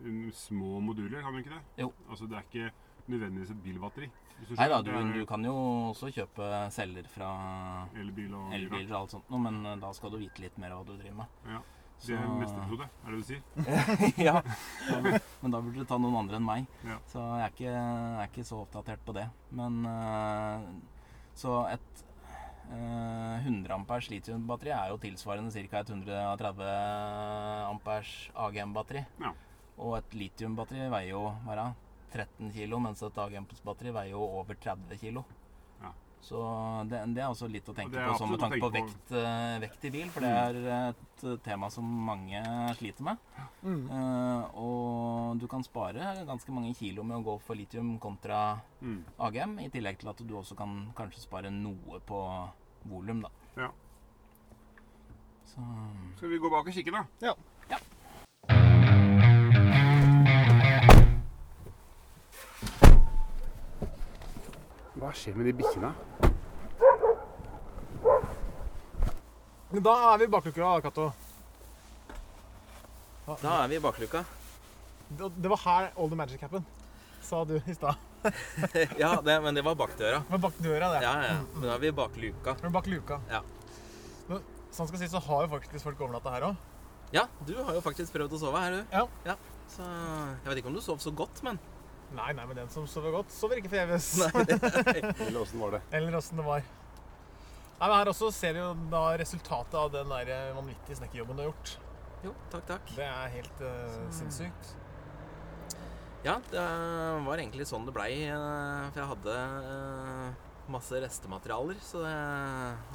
Speaker 1: um, små moduler, kan du ikke det?
Speaker 3: Jo.
Speaker 1: Altså det er ikke nødvendigvis et bilbatteri. hvis
Speaker 3: Nei da,
Speaker 1: skjønner.
Speaker 3: du,
Speaker 1: Det er
Speaker 3: du kan jo også kjøpe celler fra
Speaker 1: Elbil og
Speaker 3: elbiler og alt sånt, noe, men eh, da skal du vite litt mer hva du driver med.
Speaker 1: Ja.
Speaker 3: Så-
Speaker 1: Det er neste episode, er det du sier?
Speaker 3: *laughs* ja. ja, Men da burde du ta noen andre enn meg.
Speaker 1: Ja.
Speaker 3: Så jeg er ikke, jeg er ikke så oppdatert på det. Men eh, Så et eh, 100 ampers litiumbatteri er jo tilsvarende ca. et 130 ampers AGM-batteri.
Speaker 1: Ja.
Speaker 3: Og et litiumbatteri veier jo hva er det, 13 kg, mens et AGM-batteri veier jo over 30 kg.
Speaker 1: Ja.
Speaker 3: Så det, det er også litt å tenke
Speaker 1: det er
Speaker 3: på sånn med
Speaker 1: absolutt
Speaker 3: tanke
Speaker 1: å
Speaker 3: på
Speaker 1: tenke Mm.
Speaker 3: vekt, eh, vekt i bil, for det er et tema som mange sliter med.
Speaker 2: Mm.
Speaker 3: Eh, og du kan spare ganske mange kilo med å gå for litium kontra
Speaker 1: Mm.
Speaker 3: AGM, i tillegg til at du også kan kanskje spare noe på volum, da.
Speaker 5: Så
Speaker 1: Skal vi gå bak og kikke, da?
Speaker 2: Ja.
Speaker 5: Ja.
Speaker 1: Hva skjer med de bikkjene?
Speaker 2: Da er vi i bakluka, Cato.
Speaker 3: Da er vi i bakluka. *laughs*
Speaker 2: Det det var her all the magic happened, sa du i stad.
Speaker 3: ja, det, men det var bakdøra.
Speaker 2: Men bak døra, det.
Speaker 3: Ja, ja. Men da er vi i bakluka.
Speaker 2: Men bak luka.
Speaker 3: Ja.
Speaker 2: Men, sånn skal sies, så har jo faktisk folk overnatta her òg.
Speaker 3: Ja, du har jo faktisk prøvd å sove her, du.
Speaker 2: Ja.
Speaker 3: Så jeg vet ikke om du sov så godt, men
Speaker 2: Nei, nei, men den som sover godt, sover ikke forgjeves.
Speaker 1: Eller åssen var det?
Speaker 2: *laughs* Eller åssen det var. Nei, men Her også ser du jo da resultatet av den der eh, vanvittige snekkerjobben du har gjort.
Speaker 3: Jo, takk, takk.
Speaker 2: Det er helt
Speaker 3: Mm.
Speaker 2: eh, sinnssykt.
Speaker 3: Ja, det var egentlig sånn det blei. eh, For jeg hadde eh, masse restematerialer. Så det,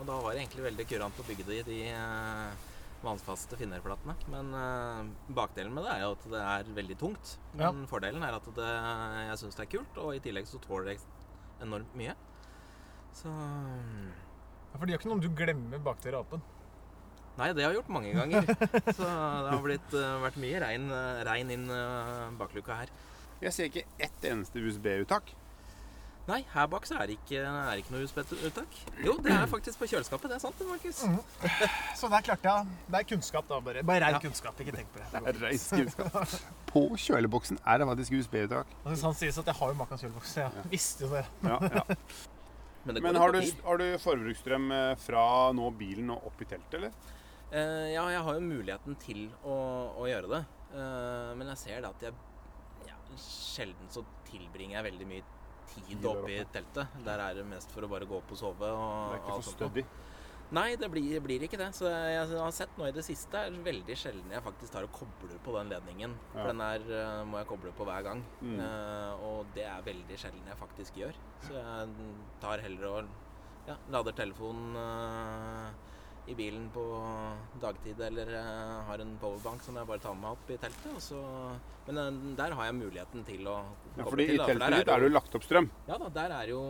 Speaker 3: og da var det egentlig veldig kurant å bygge det i de eh, vannfaste finnerplatene. Men eh, bakdelen med det er jo at det er veldig tungt.
Speaker 2: Ja.
Speaker 3: Men fordelen er at det, jeg syns det er kult, og i tillegg så tåler det enormt mye. Så mm,
Speaker 2: Ja, For det gjør ikke noe om du glemmer bakdøra åpen.
Speaker 3: Nei, det har jeg gjort mange ganger. Så det har blitt, eh, vært mye regn, eh, regn inn eh, bakluka her.
Speaker 1: Jeg ser ikke ett eneste USB-uttak.
Speaker 3: Nei, her bak så er det ikke, er det ikke noe USB-uttak. Jo, det er faktisk på kjøleskapet. Det er sant, det, Markus.
Speaker 1: Mhm.
Speaker 2: Så der klarte jeg. Det er kunnskap, da. Bare, bare rein
Speaker 3: Ja.
Speaker 2: kunnskap. Ikke tenk på det.
Speaker 1: Reis kunnskap. På kjøleboksen er det faktisk USB-uttak.
Speaker 2: Og Hvis han sies at jeg har jo Makan kjølebukse, jeg visste jo det.
Speaker 1: Ja, ja.
Speaker 3: Men, det går
Speaker 1: Men
Speaker 3: jo
Speaker 1: har
Speaker 3: på
Speaker 1: du,
Speaker 3: tid.
Speaker 1: har du forbruksstrøm eh, fra nå bilen og opp i teltet, eller?
Speaker 3: Eh, ja, jeg har jo muligheten til å, å gjøre det. Eh, men jeg ser det at jeg ja, Sjelden så tilbringer jeg veldig mye tid
Speaker 1: der
Speaker 3: oppe i
Speaker 1: oppe.
Speaker 3: teltet. Der er det mest for å bare gå opp og sove. Og,
Speaker 1: Det er ikke
Speaker 3: alt
Speaker 1: for
Speaker 3: sånt noe.
Speaker 1: stødig.
Speaker 3: Nei, det blir, blir ikke det. Så jeg har sett nå i det siste er veldig sjelden jeg faktisk tar og kobler på den ledningen. For
Speaker 1: Ja.
Speaker 3: den er, eh, må jeg koble på hver gang.
Speaker 1: Mm.
Speaker 3: Eh, og det er veldig sjelden jeg faktisk gjør. Så jeg tar heller og ja, lader telefonen eh, i bilen på dagtid eller eh, har en powerbank som jeg bare tar med meg opp i teltet. Og så, men eh, der har jeg muligheten til å
Speaker 1: Ja,
Speaker 3: koble
Speaker 1: fordi i
Speaker 3: da, for der
Speaker 1: teltet ditt er det jo lagt opp strøm.
Speaker 3: ja da, der er jo,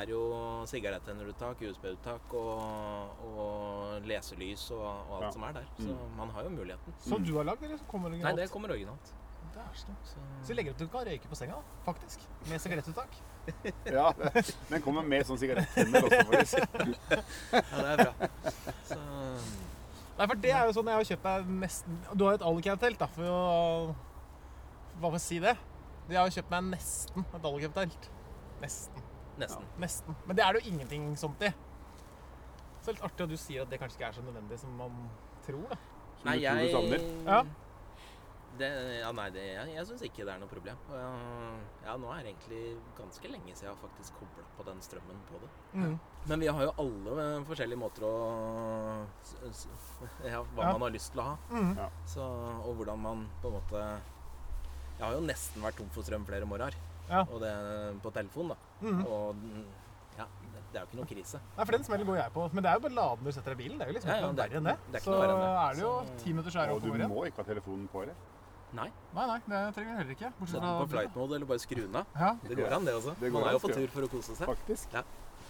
Speaker 3: er jo sigarettenneruttak, USB-uttak og, og leselys og, og alt
Speaker 1: Ja. Mm.
Speaker 3: som er der. Så man har jo muligheten.
Speaker 2: Så du har lagd, eller så kommer
Speaker 3: Nei,
Speaker 2: originalt?
Speaker 3: det kommer originalt.
Speaker 2: det er sånn.
Speaker 3: Så,
Speaker 2: Så vi legger opp til at du kan røyke på senga, faktisk. Med sigarettuttak.
Speaker 1: Ja, det- Den kommer med sånn sigarettenner også, *laughs* faktisk.
Speaker 3: ja, det er bra. Så,
Speaker 2: Nei, for det er jo sånn jeg har kjøpt meg nesten Du har jo et alucam-telt, da, for å Hva får si det? Jeg har jo kjøpt meg nesten et alucam-telt. Nesten.
Speaker 3: nesten.
Speaker 2: Nesten. Men det er det jo ingenting sånt i. Så litt artig at du sier at det kanskje ikke er så nødvendig som man tror, da.
Speaker 1: Som du tror du savner.
Speaker 2: Ja.
Speaker 3: Det, ja, nei, det, jeg, jeg syns ikke det er noe problem. Og jeg- Ja, nå er det egentlig ganske lenge siden jeg har faktisk kobla på den strømmen på det.
Speaker 2: Mm.
Speaker 3: Men vi har jo alle eh, forskjellige måter å s- s- ja, Hva
Speaker 2: Ja.
Speaker 3: man har lyst til å ha.
Speaker 2: Mhm.
Speaker 1: Ja.
Speaker 3: Så, og hvordan man på en måte Jeg har jo nesten vært tom for strøm flere morgener.
Speaker 2: Ja.
Speaker 3: Og det på telefon, da.
Speaker 2: Mhm.
Speaker 3: Og mm, ja, det det er jo ikke noe krise.
Speaker 2: Nei, for den smellen går jeg på. Men det er jo bare laden du setter deg i bilen. Det er jo liksom
Speaker 3: Ja,
Speaker 2: ikke
Speaker 3: ja,
Speaker 2: noe
Speaker 3: det er-
Speaker 2: verre enn det.
Speaker 3: det er ikke
Speaker 2: Så
Speaker 3: noe verre enn det.
Speaker 2: er det jo
Speaker 3: Så-
Speaker 2: ti minutter skjære
Speaker 1: Og
Speaker 2: opp
Speaker 1: du
Speaker 2: over igjen.
Speaker 1: må ikke ha telefonen på deg.
Speaker 3: Nei.
Speaker 2: Nei, nei, det trenger vi heller ikke.
Speaker 3: Så
Speaker 2: Bortsett fra
Speaker 3: på flight mode eller bare skru den av.
Speaker 2: ja.
Speaker 3: Det går an, det også.
Speaker 1: Det går an,
Speaker 3: Man er jo på
Speaker 1: ja.
Speaker 3: tur for å kose seg.
Speaker 1: Faktisk.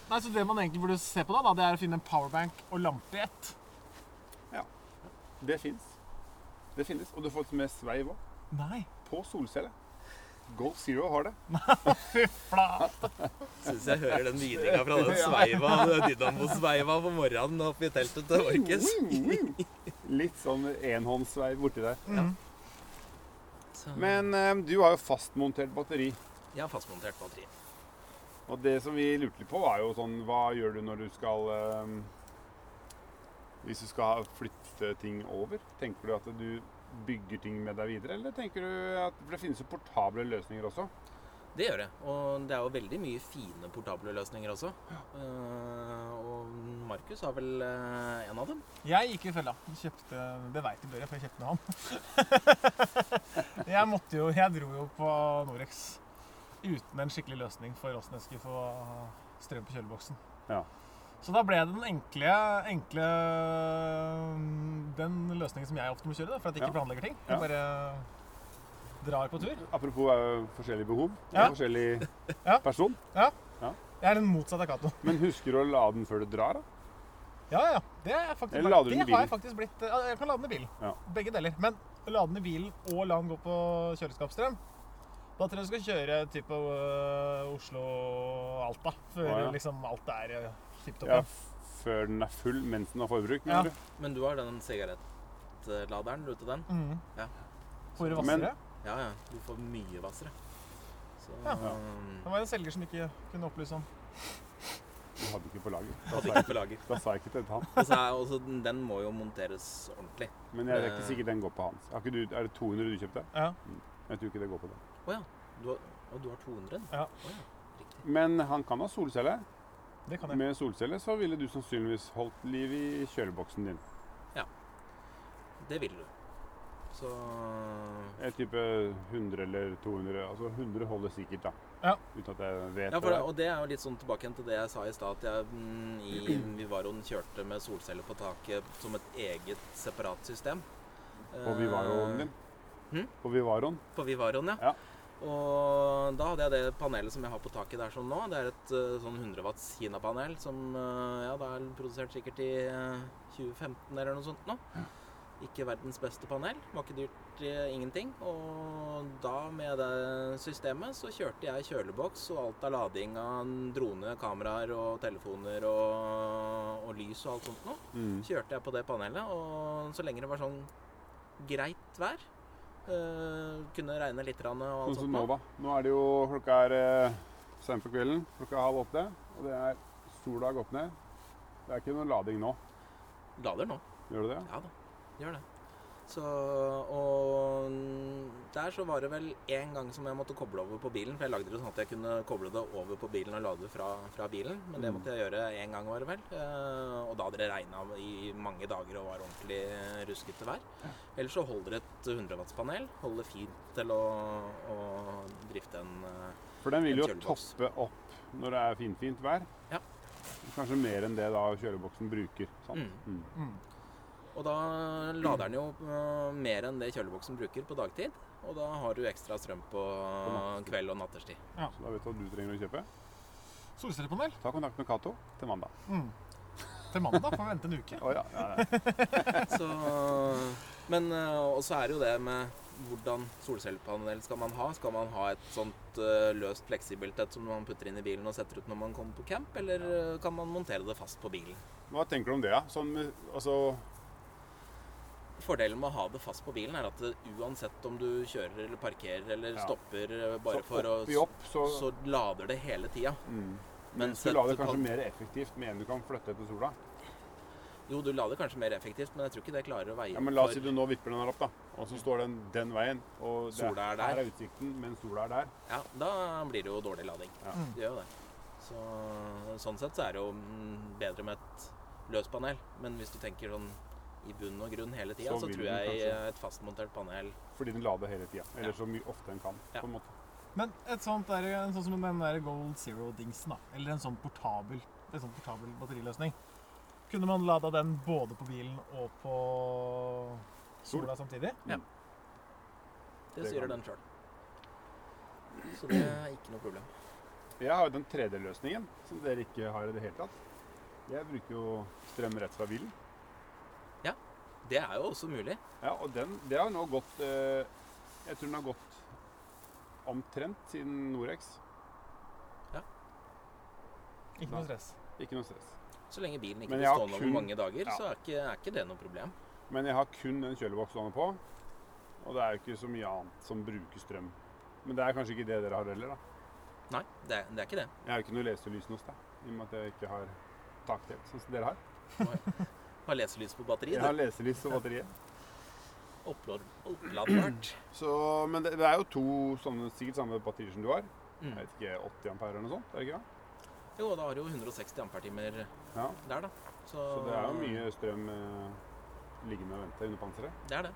Speaker 2: Nei, Så det man egentlig burde se på, da, da det er å finne en powerbank og lampe i ett.
Speaker 1: Det fins. Det finnes. Og du får med sveiv òg.
Speaker 2: Nei.
Speaker 1: På solcelle. Golf Zero har det.
Speaker 2: Fla.
Speaker 3: Syns jeg hører den hvininga fra
Speaker 1: *laughs*
Speaker 3: den sveiva, den dynamosveiva på morgenen oppe i teltet til Markus.
Speaker 1: Litt sånn enhåndssveiv borti der.
Speaker 3: Så-
Speaker 1: Men eh, du har jo fastmontert batteri.
Speaker 3: Jeg har fastmontert batteri.
Speaker 1: Og det som vi lurte litt på, var jo sånn Hva gjør du når du skal eh, Hvis du skal flytte ting over? Tenker du at du bygger ting med deg videre, eller tenker du at For det finnes jo portable løsninger også.
Speaker 3: Det gjør det. Og det er jo veldig mye fine portable løsninger også. Eh, og Markus har vel eh, en av dem.
Speaker 2: Jeg gikk i fella. Kjøpte Det veit du bør, jeg, for jeg kjøpte den av han. *laughs* jeg måtte jo Jeg dro jo på Norex uten en skikkelig løsning for åssen jeg skulle få strøm på kjøleboksen.
Speaker 1: Ja.
Speaker 2: Så da ble det den enkle, enkle mm, Den løsningen som jeg ofte må kjøre, da, for at jeg ikke
Speaker 1: Ja.
Speaker 2: planlegger ting.
Speaker 1: Ja.
Speaker 2: Jeg bare drar på tur.
Speaker 1: Apropos eh, forskjellige behov.
Speaker 2: Ja.
Speaker 1: Forskjellig
Speaker 2: *laughs* Ja.
Speaker 1: person.
Speaker 2: Jeg er den motsatte av Cato.
Speaker 1: Men husker du å lade den før du drar? da?
Speaker 2: Ja, ja. Det, er jeg faktisk,
Speaker 1: Eller lader du
Speaker 2: det
Speaker 1: den i
Speaker 2: har jeg
Speaker 1: bilen?
Speaker 2: faktisk blitt ja, Jeg kan lade den i bilen.
Speaker 1: Ja.
Speaker 2: Begge deler. Men lade den i bilen og la den gå på kjøleskapsstrøm Da tror jeg du skal kjøre typ øh, Oslo-Alta før
Speaker 1: Å, ja.
Speaker 2: liksom alt er øh, tipp topp.
Speaker 1: Ja,
Speaker 2: igjen.
Speaker 1: f- før den er full mens den har forbruk.
Speaker 2: Ja.
Speaker 1: mener du?
Speaker 3: Men du har den sigarettladeren, du vet den?
Speaker 2: Mhm.
Speaker 3: Ja.
Speaker 2: Fore
Speaker 1: Men-
Speaker 2: Vassere.
Speaker 3: Ja, ja. Du får mye hvassere. Så
Speaker 2: Ja.
Speaker 3: um,
Speaker 2: Det var en selger som ikke kunne opplyse om.
Speaker 1: Du hadde ikke på lager. Da
Speaker 3: hadde
Speaker 1: sa jeg,
Speaker 3: ikke på lager.
Speaker 1: da sa jeg ikke det til han.
Speaker 3: Og så er også, den- den må jo monteres ordentlig.
Speaker 1: Men jeg er
Speaker 2: Eh.
Speaker 1: ikke sikker den går på hans. Har ikke du, er det 200 du kjøpte?
Speaker 2: Ja.
Speaker 1: Jeg tror ikke det går på det.
Speaker 3: Å ja. Du har, og du har 200?
Speaker 2: Ja.
Speaker 3: Å ja. Riktig.
Speaker 1: Men han kan ha solcelle.
Speaker 2: Det kan jeg.
Speaker 1: Med solcelle så ville du sannsynligvis holdt liv i kjøleboksen din.
Speaker 3: Det vil du. Så
Speaker 1: Jeg typer 100 eller 200. Altså 100 holder sikkert, da.
Speaker 2: Ja.
Speaker 1: Uten at jeg vet
Speaker 3: ja, for,
Speaker 1: det.
Speaker 3: det- og det er jo litt sånn tilbake igjen til det jeg sa i stad, at jeg mm, i Vivaroen kjørte med solceller på taket som et eget separat system.
Speaker 1: På Vivaroen din.
Speaker 3: Hm?
Speaker 1: På Vivaroen.
Speaker 3: På Vivaroen, ja.
Speaker 1: Ja.
Speaker 3: Og da hadde jeg det panelet som jeg har på taket der sånn nå. Det er et eh, sånn 100 watts Kina-panel som eh, ja, det er produsert sikkert i eh, 2015 eller noe sånt nå. Ikke verdens beste panel. Var ikke dyrt eh, ingenting. Og da med det systemet så kjørte jeg kjøleboks og alt av lading av en drone, kameraer og telefoner og, og lys og alt sånt nå
Speaker 1: Mm.
Speaker 3: kjørte jeg på det panelet, og så lenge det var sånn greit vær eh, Kunne regne litt grann og
Speaker 1: Sånn
Speaker 3: alt
Speaker 1: som
Speaker 3: sånt. nå.
Speaker 1: Nova. Nå er det jo klokka er eh, sent på kvelden. Klokka er halv åtte. Og det er sola har gått ned. Det er ikke noe lading nå.
Speaker 3: Lader nå.
Speaker 1: Gjør det det?
Speaker 3: Ja da, gjør det. Så, og der så var det vel én gang som jeg måtte koble over på bilen. For jeg lagde det sånn at jeg kunne koble det over på bilen og lade fra, fra bilen. Men det
Speaker 1: Mm.
Speaker 3: måtte jeg gjøre én gang, var det vel. Eh, Og da hadde det regna i mange dager og var ordentlig ruskete vær. Ellers så holder et 100 watts-panel holder fint til å, å drifte en eh,
Speaker 1: For den vil
Speaker 3: En
Speaker 1: jo
Speaker 3: kjøleboks.
Speaker 1: toppe opp når det er finfint vær.
Speaker 3: Ja.
Speaker 1: Kanskje mer enn det da kjøleboksen bruker. Sant?
Speaker 3: Mm.
Speaker 1: Mm.
Speaker 2: Mm.
Speaker 3: Og da lader den jo øh, mer enn det kjøleboksen bruker på dagtid. Og da har du ekstra strøm på øh, kveld og natterstid.
Speaker 1: Så da vet du hva du trenger å kjøpe.
Speaker 2: Solcellepanel.
Speaker 1: Ta kontakt med Cato til mandag.
Speaker 2: Mm. Til mandag får vi vente en uke.
Speaker 1: Å ja. ja, ja.
Speaker 3: Så, men øh, Og så er det jo det med hvordan solcellepanel skal man ha? Skal man ha et sånt øh, løst fleksibelt et som man putter inn i bilen og setter ut når man kommer på camp, eller øh, kan man montere det fast på bilen?
Speaker 1: Hva tenker du om det, da? Sånn, med- altså
Speaker 3: Fordelen med å ha det fast på bilen er at det, uansett om du kjører eller parkerer eller
Speaker 1: Ja.
Speaker 3: stopper øh, bare
Speaker 1: så
Speaker 3: for å
Speaker 1: oppi opp, så,
Speaker 3: Så lader det hele tida.
Speaker 1: mm. Men
Speaker 3: Mens
Speaker 1: du lader
Speaker 3: et pan-
Speaker 1: kanskje mer effektivt med en du kan flytte etter sola.
Speaker 3: Jo, du lader kanskje mer effektivt, men jeg tror ikke det klarer å veie
Speaker 1: Ja, men La oss si
Speaker 3: for-
Speaker 1: du nå vipper den her opp, da. Og så står den den veien. Og det,
Speaker 3: Sola er der.
Speaker 1: her er utsikten, men sola er der.
Speaker 3: Ja, da blir det jo dårlig lading.
Speaker 1: Ja.
Speaker 2: Mm.
Speaker 3: Det gjør jo det. Så, sånn sett så er det jo mm, bedre med et løst panel. Men hvis du tenker sånn i bunn og grunn hele tida,
Speaker 1: Så
Speaker 3: så,
Speaker 1: vil
Speaker 3: tror
Speaker 1: den
Speaker 3: jeg eh,
Speaker 1: kanskje-
Speaker 3: et fastmontert panel
Speaker 1: Fordi den lader hele tida. Eller
Speaker 3: Ja.
Speaker 1: så mye ofte en kan.
Speaker 3: Ja.
Speaker 1: på en måte.
Speaker 2: Men et sånt er, jo en sånn som den der Gold Zero-dingsen, da. Eller en sånn portabel, en sånn portabel batteriløsning. Kunne man lada den både på bilen og på
Speaker 1: Sol.
Speaker 2: sola samtidig?
Speaker 3: Det
Speaker 1: Det
Speaker 3: styrer
Speaker 1: kan-
Speaker 3: den sjøl. Så det er ikke noe problem.
Speaker 1: Jeg har jo den tredje løsningen, som dere ikke har i det hele tatt. Jeg bruker jo strøm rett fra bilen.
Speaker 3: Det er jo også mulig.
Speaker 1: Ja, og den, det har nå gått eh, Jeg tror den har gått omtrent siden Norex.
Speaker 2: Ikke noe stress.
Speaker 1: Ikke noe stress.
Speaker 3: Så lenge bilen ikke
Speaker 1: Men
Speaker 3: blir
Speaker 1: jeg har
Speaker 3: stående
Speaker 1: kun-
Speaker 3: over mange dager,
Speaker 1: Ja.
Speaker 3: så er ikke, er ikke det noe problem.
Speaker 1: Men jeg har kun en kjøleboks stående på. Og det er jo ikke så mye annet som bruker strøm. Men det er kanskje ikke det dere har heller, da.
Speaker 3: Nei, det, det er ikke det.
Speaker 1: Jeg har jo ikke noe leselys noe sted, i og med at jeg ikke har taktelt, sånn som dere har.
Speaker 3: Har leselys på batteri,
Speaker 1: Jeg har
Speaker 3: det.
Speaker 1: leselys og batteriet.
Speaker 3: Opplad,
Speaker 1: *clears throat*
Speaker 3: oppladbart.
Speaker 1: Så, men det, det er jo to sånne, sikkert samme batterier som du har.
Speaker 3: Mm.
Speaker 1: Jeg vet ikke, 80 ampere eller noe sånt? er det ikke det?
Speaker 3: Jo, da har du jo 160 ampertimer
Speaker 1: Ja.
Speaker 3: der, da. Så,
Speaker 1: Så det er jo mye strøm eh, liggende og vente under panseret.
Speaker 3: Det er det.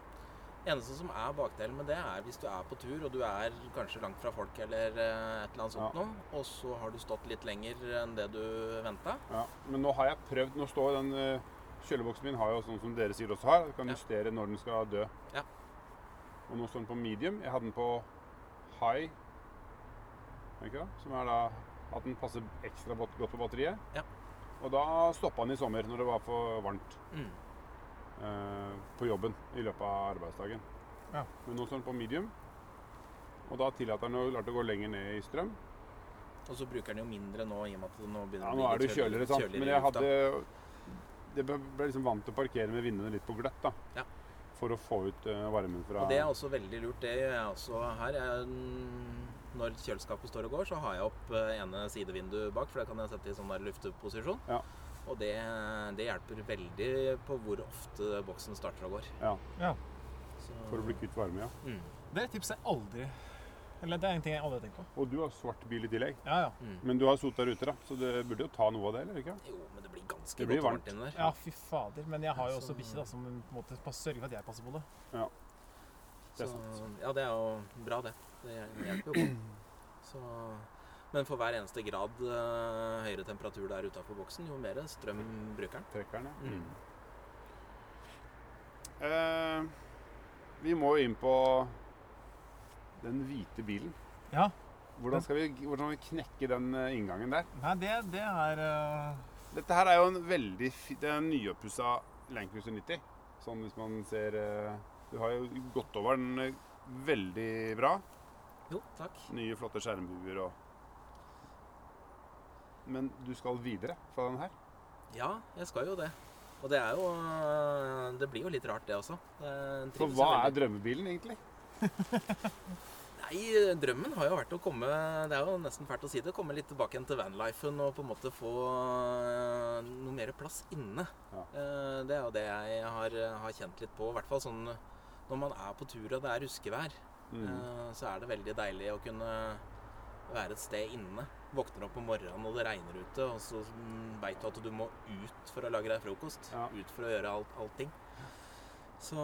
Speaker 3: Eneste som er bakdelen med det, er hvis du er på tur, og du er kanskje langt fra folk eller eh, et eller annet sånt
Speaker 1: Ja.
Speaker 3: noe, og så har du stått litt lenger enn det du venta.
Speaker 1: Ja. Men nå har jeg prøvd Nå står den eh, kjøleboksen min har jo sånn som dere sier også har. Du kan
Speaker 3: Ja.
Speaker 1: justere når den skal dø.
Speaker 3: Ja.
Speaker 1: Og nå står den på medium. Jeg hadde den på high, er det ikke det? som er da at den passer ekstra godt, godt på batteriet.
Speaker 3: Ja.
Speaker 1: Og da stoppa han i sommer når det var for varmt
Speaker 3: Mm.
Speaker 1: eh, på jobben i løpet av arbeidsdagen.
Speaker 2: Ja.
Speaker 1: Men nå står han på medium, og da tillater han å klart å gå lenger ned i strøm.
Speaker 3: Og så bruker den jo mindre nå i og med at det nå begynner
Speaker 1: Ja,
Speaker 3: å
Speaker 1: nå er
Speaker 3: bli
Speaker 1: det
Speaker 3: litt
Speaker 1: jo kjøligere, sant.
Speaker 3: kjøligere
Speaker 1: Men
Speaker 3: i
Speaker 1: jeg
Speaker 3: lufta.
Speaker 1: hadde Jeg ble ble liksom vant til å parkere med vinduene litt på gløtt, da.
Speaker 3: Ja.
Speaker 1: For å få ut eh, varmen fra
Speaker 3: Og det er også veldig lurt. Det gjør jeg også her. Jeg, når kjøleskapet står og går, så har jeg opp eh, ene sidevinduet bak, for det kan jeg sette i sånn der lufteposisjon.
Speaker 1: Ja.
Speaker 3: Og det, det hjelper veldig på hvor ofte boksen starter og går.
Speaker 1: Ja.
Speaker 2: Ja.
Speaker 3: Så,
Speaker 1: For å bli kvitt varme, ja.
Speaker 3: Mm,
Speaker 2: Det er et tips jeg aldri Eller det er en ting jeg aldri har tenkt på.
Speaker 1: Og du har svart bil i tillegg.
Speaker 2: Ja, ja.
Speaker 3: mm.
Speaker 1: Men du har sota der ute, da, så du burde jo ta noe av det, eller ikke?
Speaker 3: Jo, men det blir ganske
Speaker 1: Det blir
Speaker 3: godt
Speaker 1: varmt.
Speaker 3: varmt inni der.
Speaker 2: Ja, fy fader. Men jeg har jo
Speaker 3: Så-
Speaker 2: også bikkje da, som på en måte passer- sørger for at jeg passer på det.
Speaker 1: Det er
Speaker 3: Så-
Speaker 1: sant.
Speaker 3: Ja, det er jo bra, det. Det hjelper jo på. Så, men for hver eneste grad eh, høyere temperatur der utafor boksen, jo mer strøm bruker den.
Speaker 1: Trekkeren, ja.
Speaker 3: Mm.
Speaker 1: Eh, vi må jo inn på den hvite bilen.
Speaker 2: Ja.
Speaker 1: Hvordan skal vi, hvordan skal vi knekke den eh, inngangen der?
Speaker 2: Nei, det, det er eh,
Speaker 1: Dette her er jo en veldig fi- Det er en nyoppussa Land Cruiser 90. Sånn hvis man ser eh, Du har jo gått over den eh, veldig bra.
Speaker 3: Jo, takk.
Speaker 1: Nye, flotte skjermbuer og Men du skal videre fra den her?
Speaker 3: Ja, jeg skal jo det. Og det er jo eh, Det blir jo litt rart, det også. Eh,
Speaker 1: Så
Speaker 3: trives
Speaker 1: hva
Speaker 3: jeg
Speaker 1: er drømmebilen, egentlig?
Speaker 3: Nei, drømmen har jo vært å komme Det er jo nesten fælt å si det. Komme litt tilbake igjen til vanlifen og på en måte få øh, noe mer plass inne.
Speaker 1: Ja.
Speaker 3: Eh, Det er jo det jeg har, har kjent litt på. I hvert fall sånn når man er på tur og det er ruskevær,
Speaker 1: Mm.
Speaker 3: eh, så er det veldig deilig å kunne være et sted inne. Våkner opp om morgenen og det regner ute, og så veit du at du må ut for å lage deg frokost.
Speaker 1: Ja.
Speaker 3: Ut for å gjøre alt, allting. Så,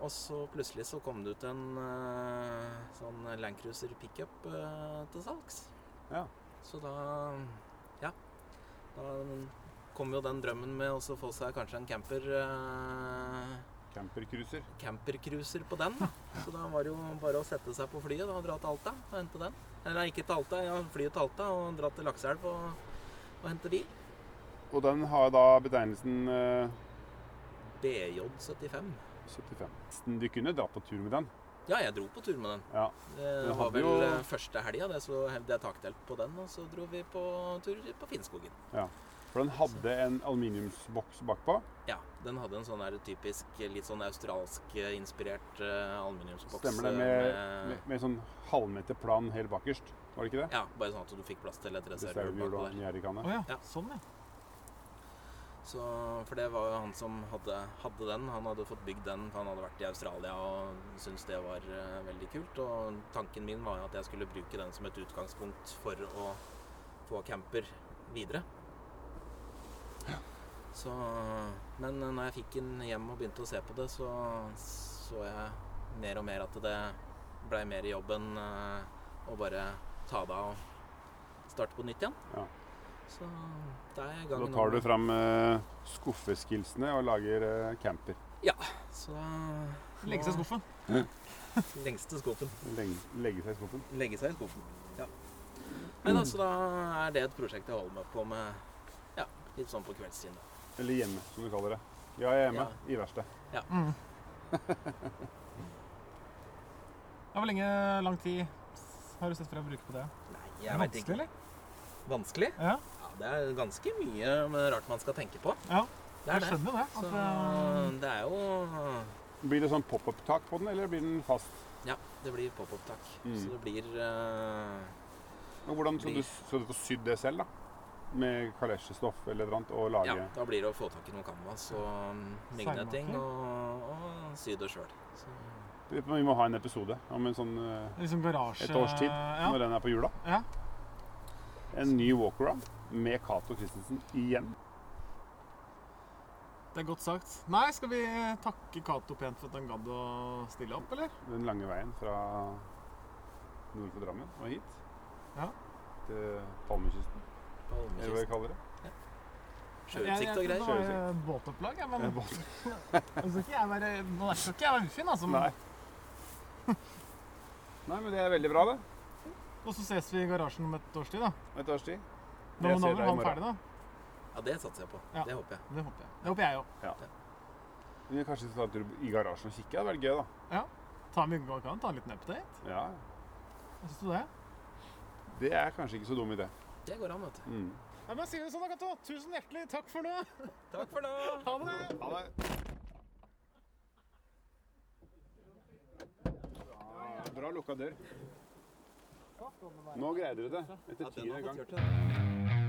Speaker 3: og så plutselig så kom det ut en eh, sånn Landcruiser pickup eh, til salgs.
Speaker 1: Ja.
Speaker 3: Så da Ja. Da kom jo den drømmen med å så få seg kanskje en camper eh,
Speaker 1: Campercruiser.
Speaker 3: campercruiser på den. da. Så da var det jo bare å sette seg på flyet da, og dra til Alta og hente den. Eller ikke til Alta, ja, flyet til Alta og dra til Lakseelv og, og hente bil.
Speaker 1: Og den har da betegnelsen eh,
Speaker 3: BJ75.
Speaker 1: 75. Du kunne dra på tur med den.
Speaker 3: Ja, jeg dro på tur med den.
Speaker 1: Ja.
Speaker 3: Det
Speaker 1: Du
Speaker 3: var
Speaker 1: hadde
Speaker 3: vel
Speaker 1: jo-
Speaker 3: eh, første helga det, så hevde jeg takdelt på den, og så dro vi på tur på Finnskogen.
Speaker 1: For den hadde en aluminiumsboks bakpå.
Speaker 3: Ja, den hadde en sånn der typisk eh, litt sånn australsk-inspirert eh, aluminiumsboks.
Speaker 1: Stemmer det
Speaker 3: eh,
Speaker 1: med,
Speaker 3: med-
Speaker 1: med, med sånn halvmeter plan helt bakerst? Var det ikke det?
Speaker 3: Ja, bare sånn at du fikk plass til et reservehjul
Speaker 1: Reservehjul
Speaker 3: bakpå
Speaker 1: og
Speaker 3: der.
Speaker 1: en
Speaker 2: Å
Speaker 1: gjerdekanne.
Speaker 2: ja.
Speaker 3: Ja.
Speaker 2: Sånn, ja.
Speaker 3: Så, for det var jo han som hadde, hadde den. Han hadde fått bygd den, for han hadde vært i Australia og syntes det var eh, veldig kult. Og tanken min var jo at jeg skulle bruke den som et utgangspunkt for å få camper videre. Så, men når jeg fikk den hjem og begynte å se på det, så så jeg mer og mer at det blei mer jobb enn eh, å bare ta det av og starte på nytt igjen.
Speaker 1: Ja.
Speaker 3: Så det er jeg i gang
Speaker 1: Da
Speaker 3: nå
Speaker 1: tar
Speaker 3: med-
Speaker 1: du fram eh, skuffeskillsene og lager eh, camper.
Speaker 3: Så
Speaker 2: Legge seg i skuffen.
Speaker 3: Lengste skuffen.
Speaker 1: Legge, legge seg i skuffen.
Speaker 3: Legge seg i skuffen. Ja. Men
Speaker 2: Mm.
Speaker 3: altså, da er det et prosjekt jeg holder meg på med ja, litt sånn på kveldstid. da.
Speaker 1: Eller hjemme, som du kaller det. Ja, jeg er hjemme. I verkstedet.
Speaker 2: Mm. *laughs* Ja, hvor lenge lang tid har du sett for deg å bruke på det?
Speaker 3: Nei,
Speaker 2: Er
Speaker 3: jeg
Speaker 2: det
Speaker 3: veit ikke.
Speaker 2: vanskelig,
Speaker 3: Vanskelig?
Speaker 2: eller? Ja,
Speaker 3: Ja, det er ganske mye men rart man skal tenke på.
Speaker 2: Ja,
Speaker 3: Det
Speaker 2: jeg
Speaker 3: er det.
Speaker 2: skjønner det.
Speaker 3: Så
Speaker 2: At, eh,
Speaker 3: det er jo
Speaker 1: Blir det sånn pop-up-tak på den, eller blir den fast?
Speaker 3: Ja, det blir pop-opptak.
Speaker 1: Mm.
Speaker 3: Så det blir eh,
Speaker 1: Og hvordan skal du, skal du få sydd det selv, da? Med kalesjestoff eller noe annet, og lage
Speaker 3: Ja, da blir det å få tak i noe canvas og mm,
Speaker 2: Seilmaking.
Speaker 3: myggnetting og, og sy det sjøl. Så
Speaker 1: Vi vi må ha en episode om en sånn eh,
Speaker 2: liksom garasje
Speaker 1: et års tid,
Speaker 2: Eh, Ja.
Speaker 1: når den er på hjula.
Speaker 2: Ja.
Speaker 1: En ny walkaround med Cato Christensen igjen.
Speaker 2: Det er godt sagt. Nei, skal vi eh, takke Cato pent for at han gadd å stille opp, eller?
Speaker 1: Den lange veien fra nord for Drammen og hit.
Speaker 2: Ja.
Speaker 1: Til Palmekysten,
Speaker 3: på
Speaker 1: eller hva vi
Speaker 3: Holmenkysten.
Speaker 1: kaller det.
Speaker 3: Sjøutsikt og
Speaker 2: Jeg
Speaker 3: greier.
Speaker 2: trodde det var eh, båtopplag, jeg, men
Speaker 1: Eh, båt.
Speaker 2: nå skal ikke jeg være, nå skal ikke jeg være ufin, altså.
Speaker 1: *laughs* Nei.
Speaker 2: Men,
Speaker 1: Nei, men det er veldig bra, det.
Speaker 2: og så ses vi i garasjen om et års tid, da.
Speaker 1: Et års tid.
Speaker 2: Da
Speaker 1: Jeg
Speaker 2: må
Speaker 1: ser
Speaker 2: da vel
Speaker 1: deg i
Speaker 2: han
Speaker 1: morgen.
Speaker 2: ferdig, da.
Speaker 3: Ja, det satser jeg på.
Speaker 2: Ja.
Speaker 3: Det håper jeg.
Speaker 2: Det håper jeg. Det håper jeg òg.
Speaker 1: Vi kanskje skal ta en tur i garasjen og kikke. Det hadde vært gøy, da.
Speaker 2: Ta med Yngve Alkan, ta en liten update.
Speaker 1: Ja,
Speaker 2: Hva syns du det?
Speaker 1: Det er kanskje ikke så dum idé.
Speaker 3: Det går an, vet du.
Speaker 1: Mm.
Speaker 2: Ja, men sier vi sånn, da, Cato. Tusen hjertelig takk for nå.
Speaker 3: Takk for nå.
Speaker 2: Ha det.
Speaker 1: Ha det. Ja, Bra lukka dør. Nå greide du det. Etter tiende gang.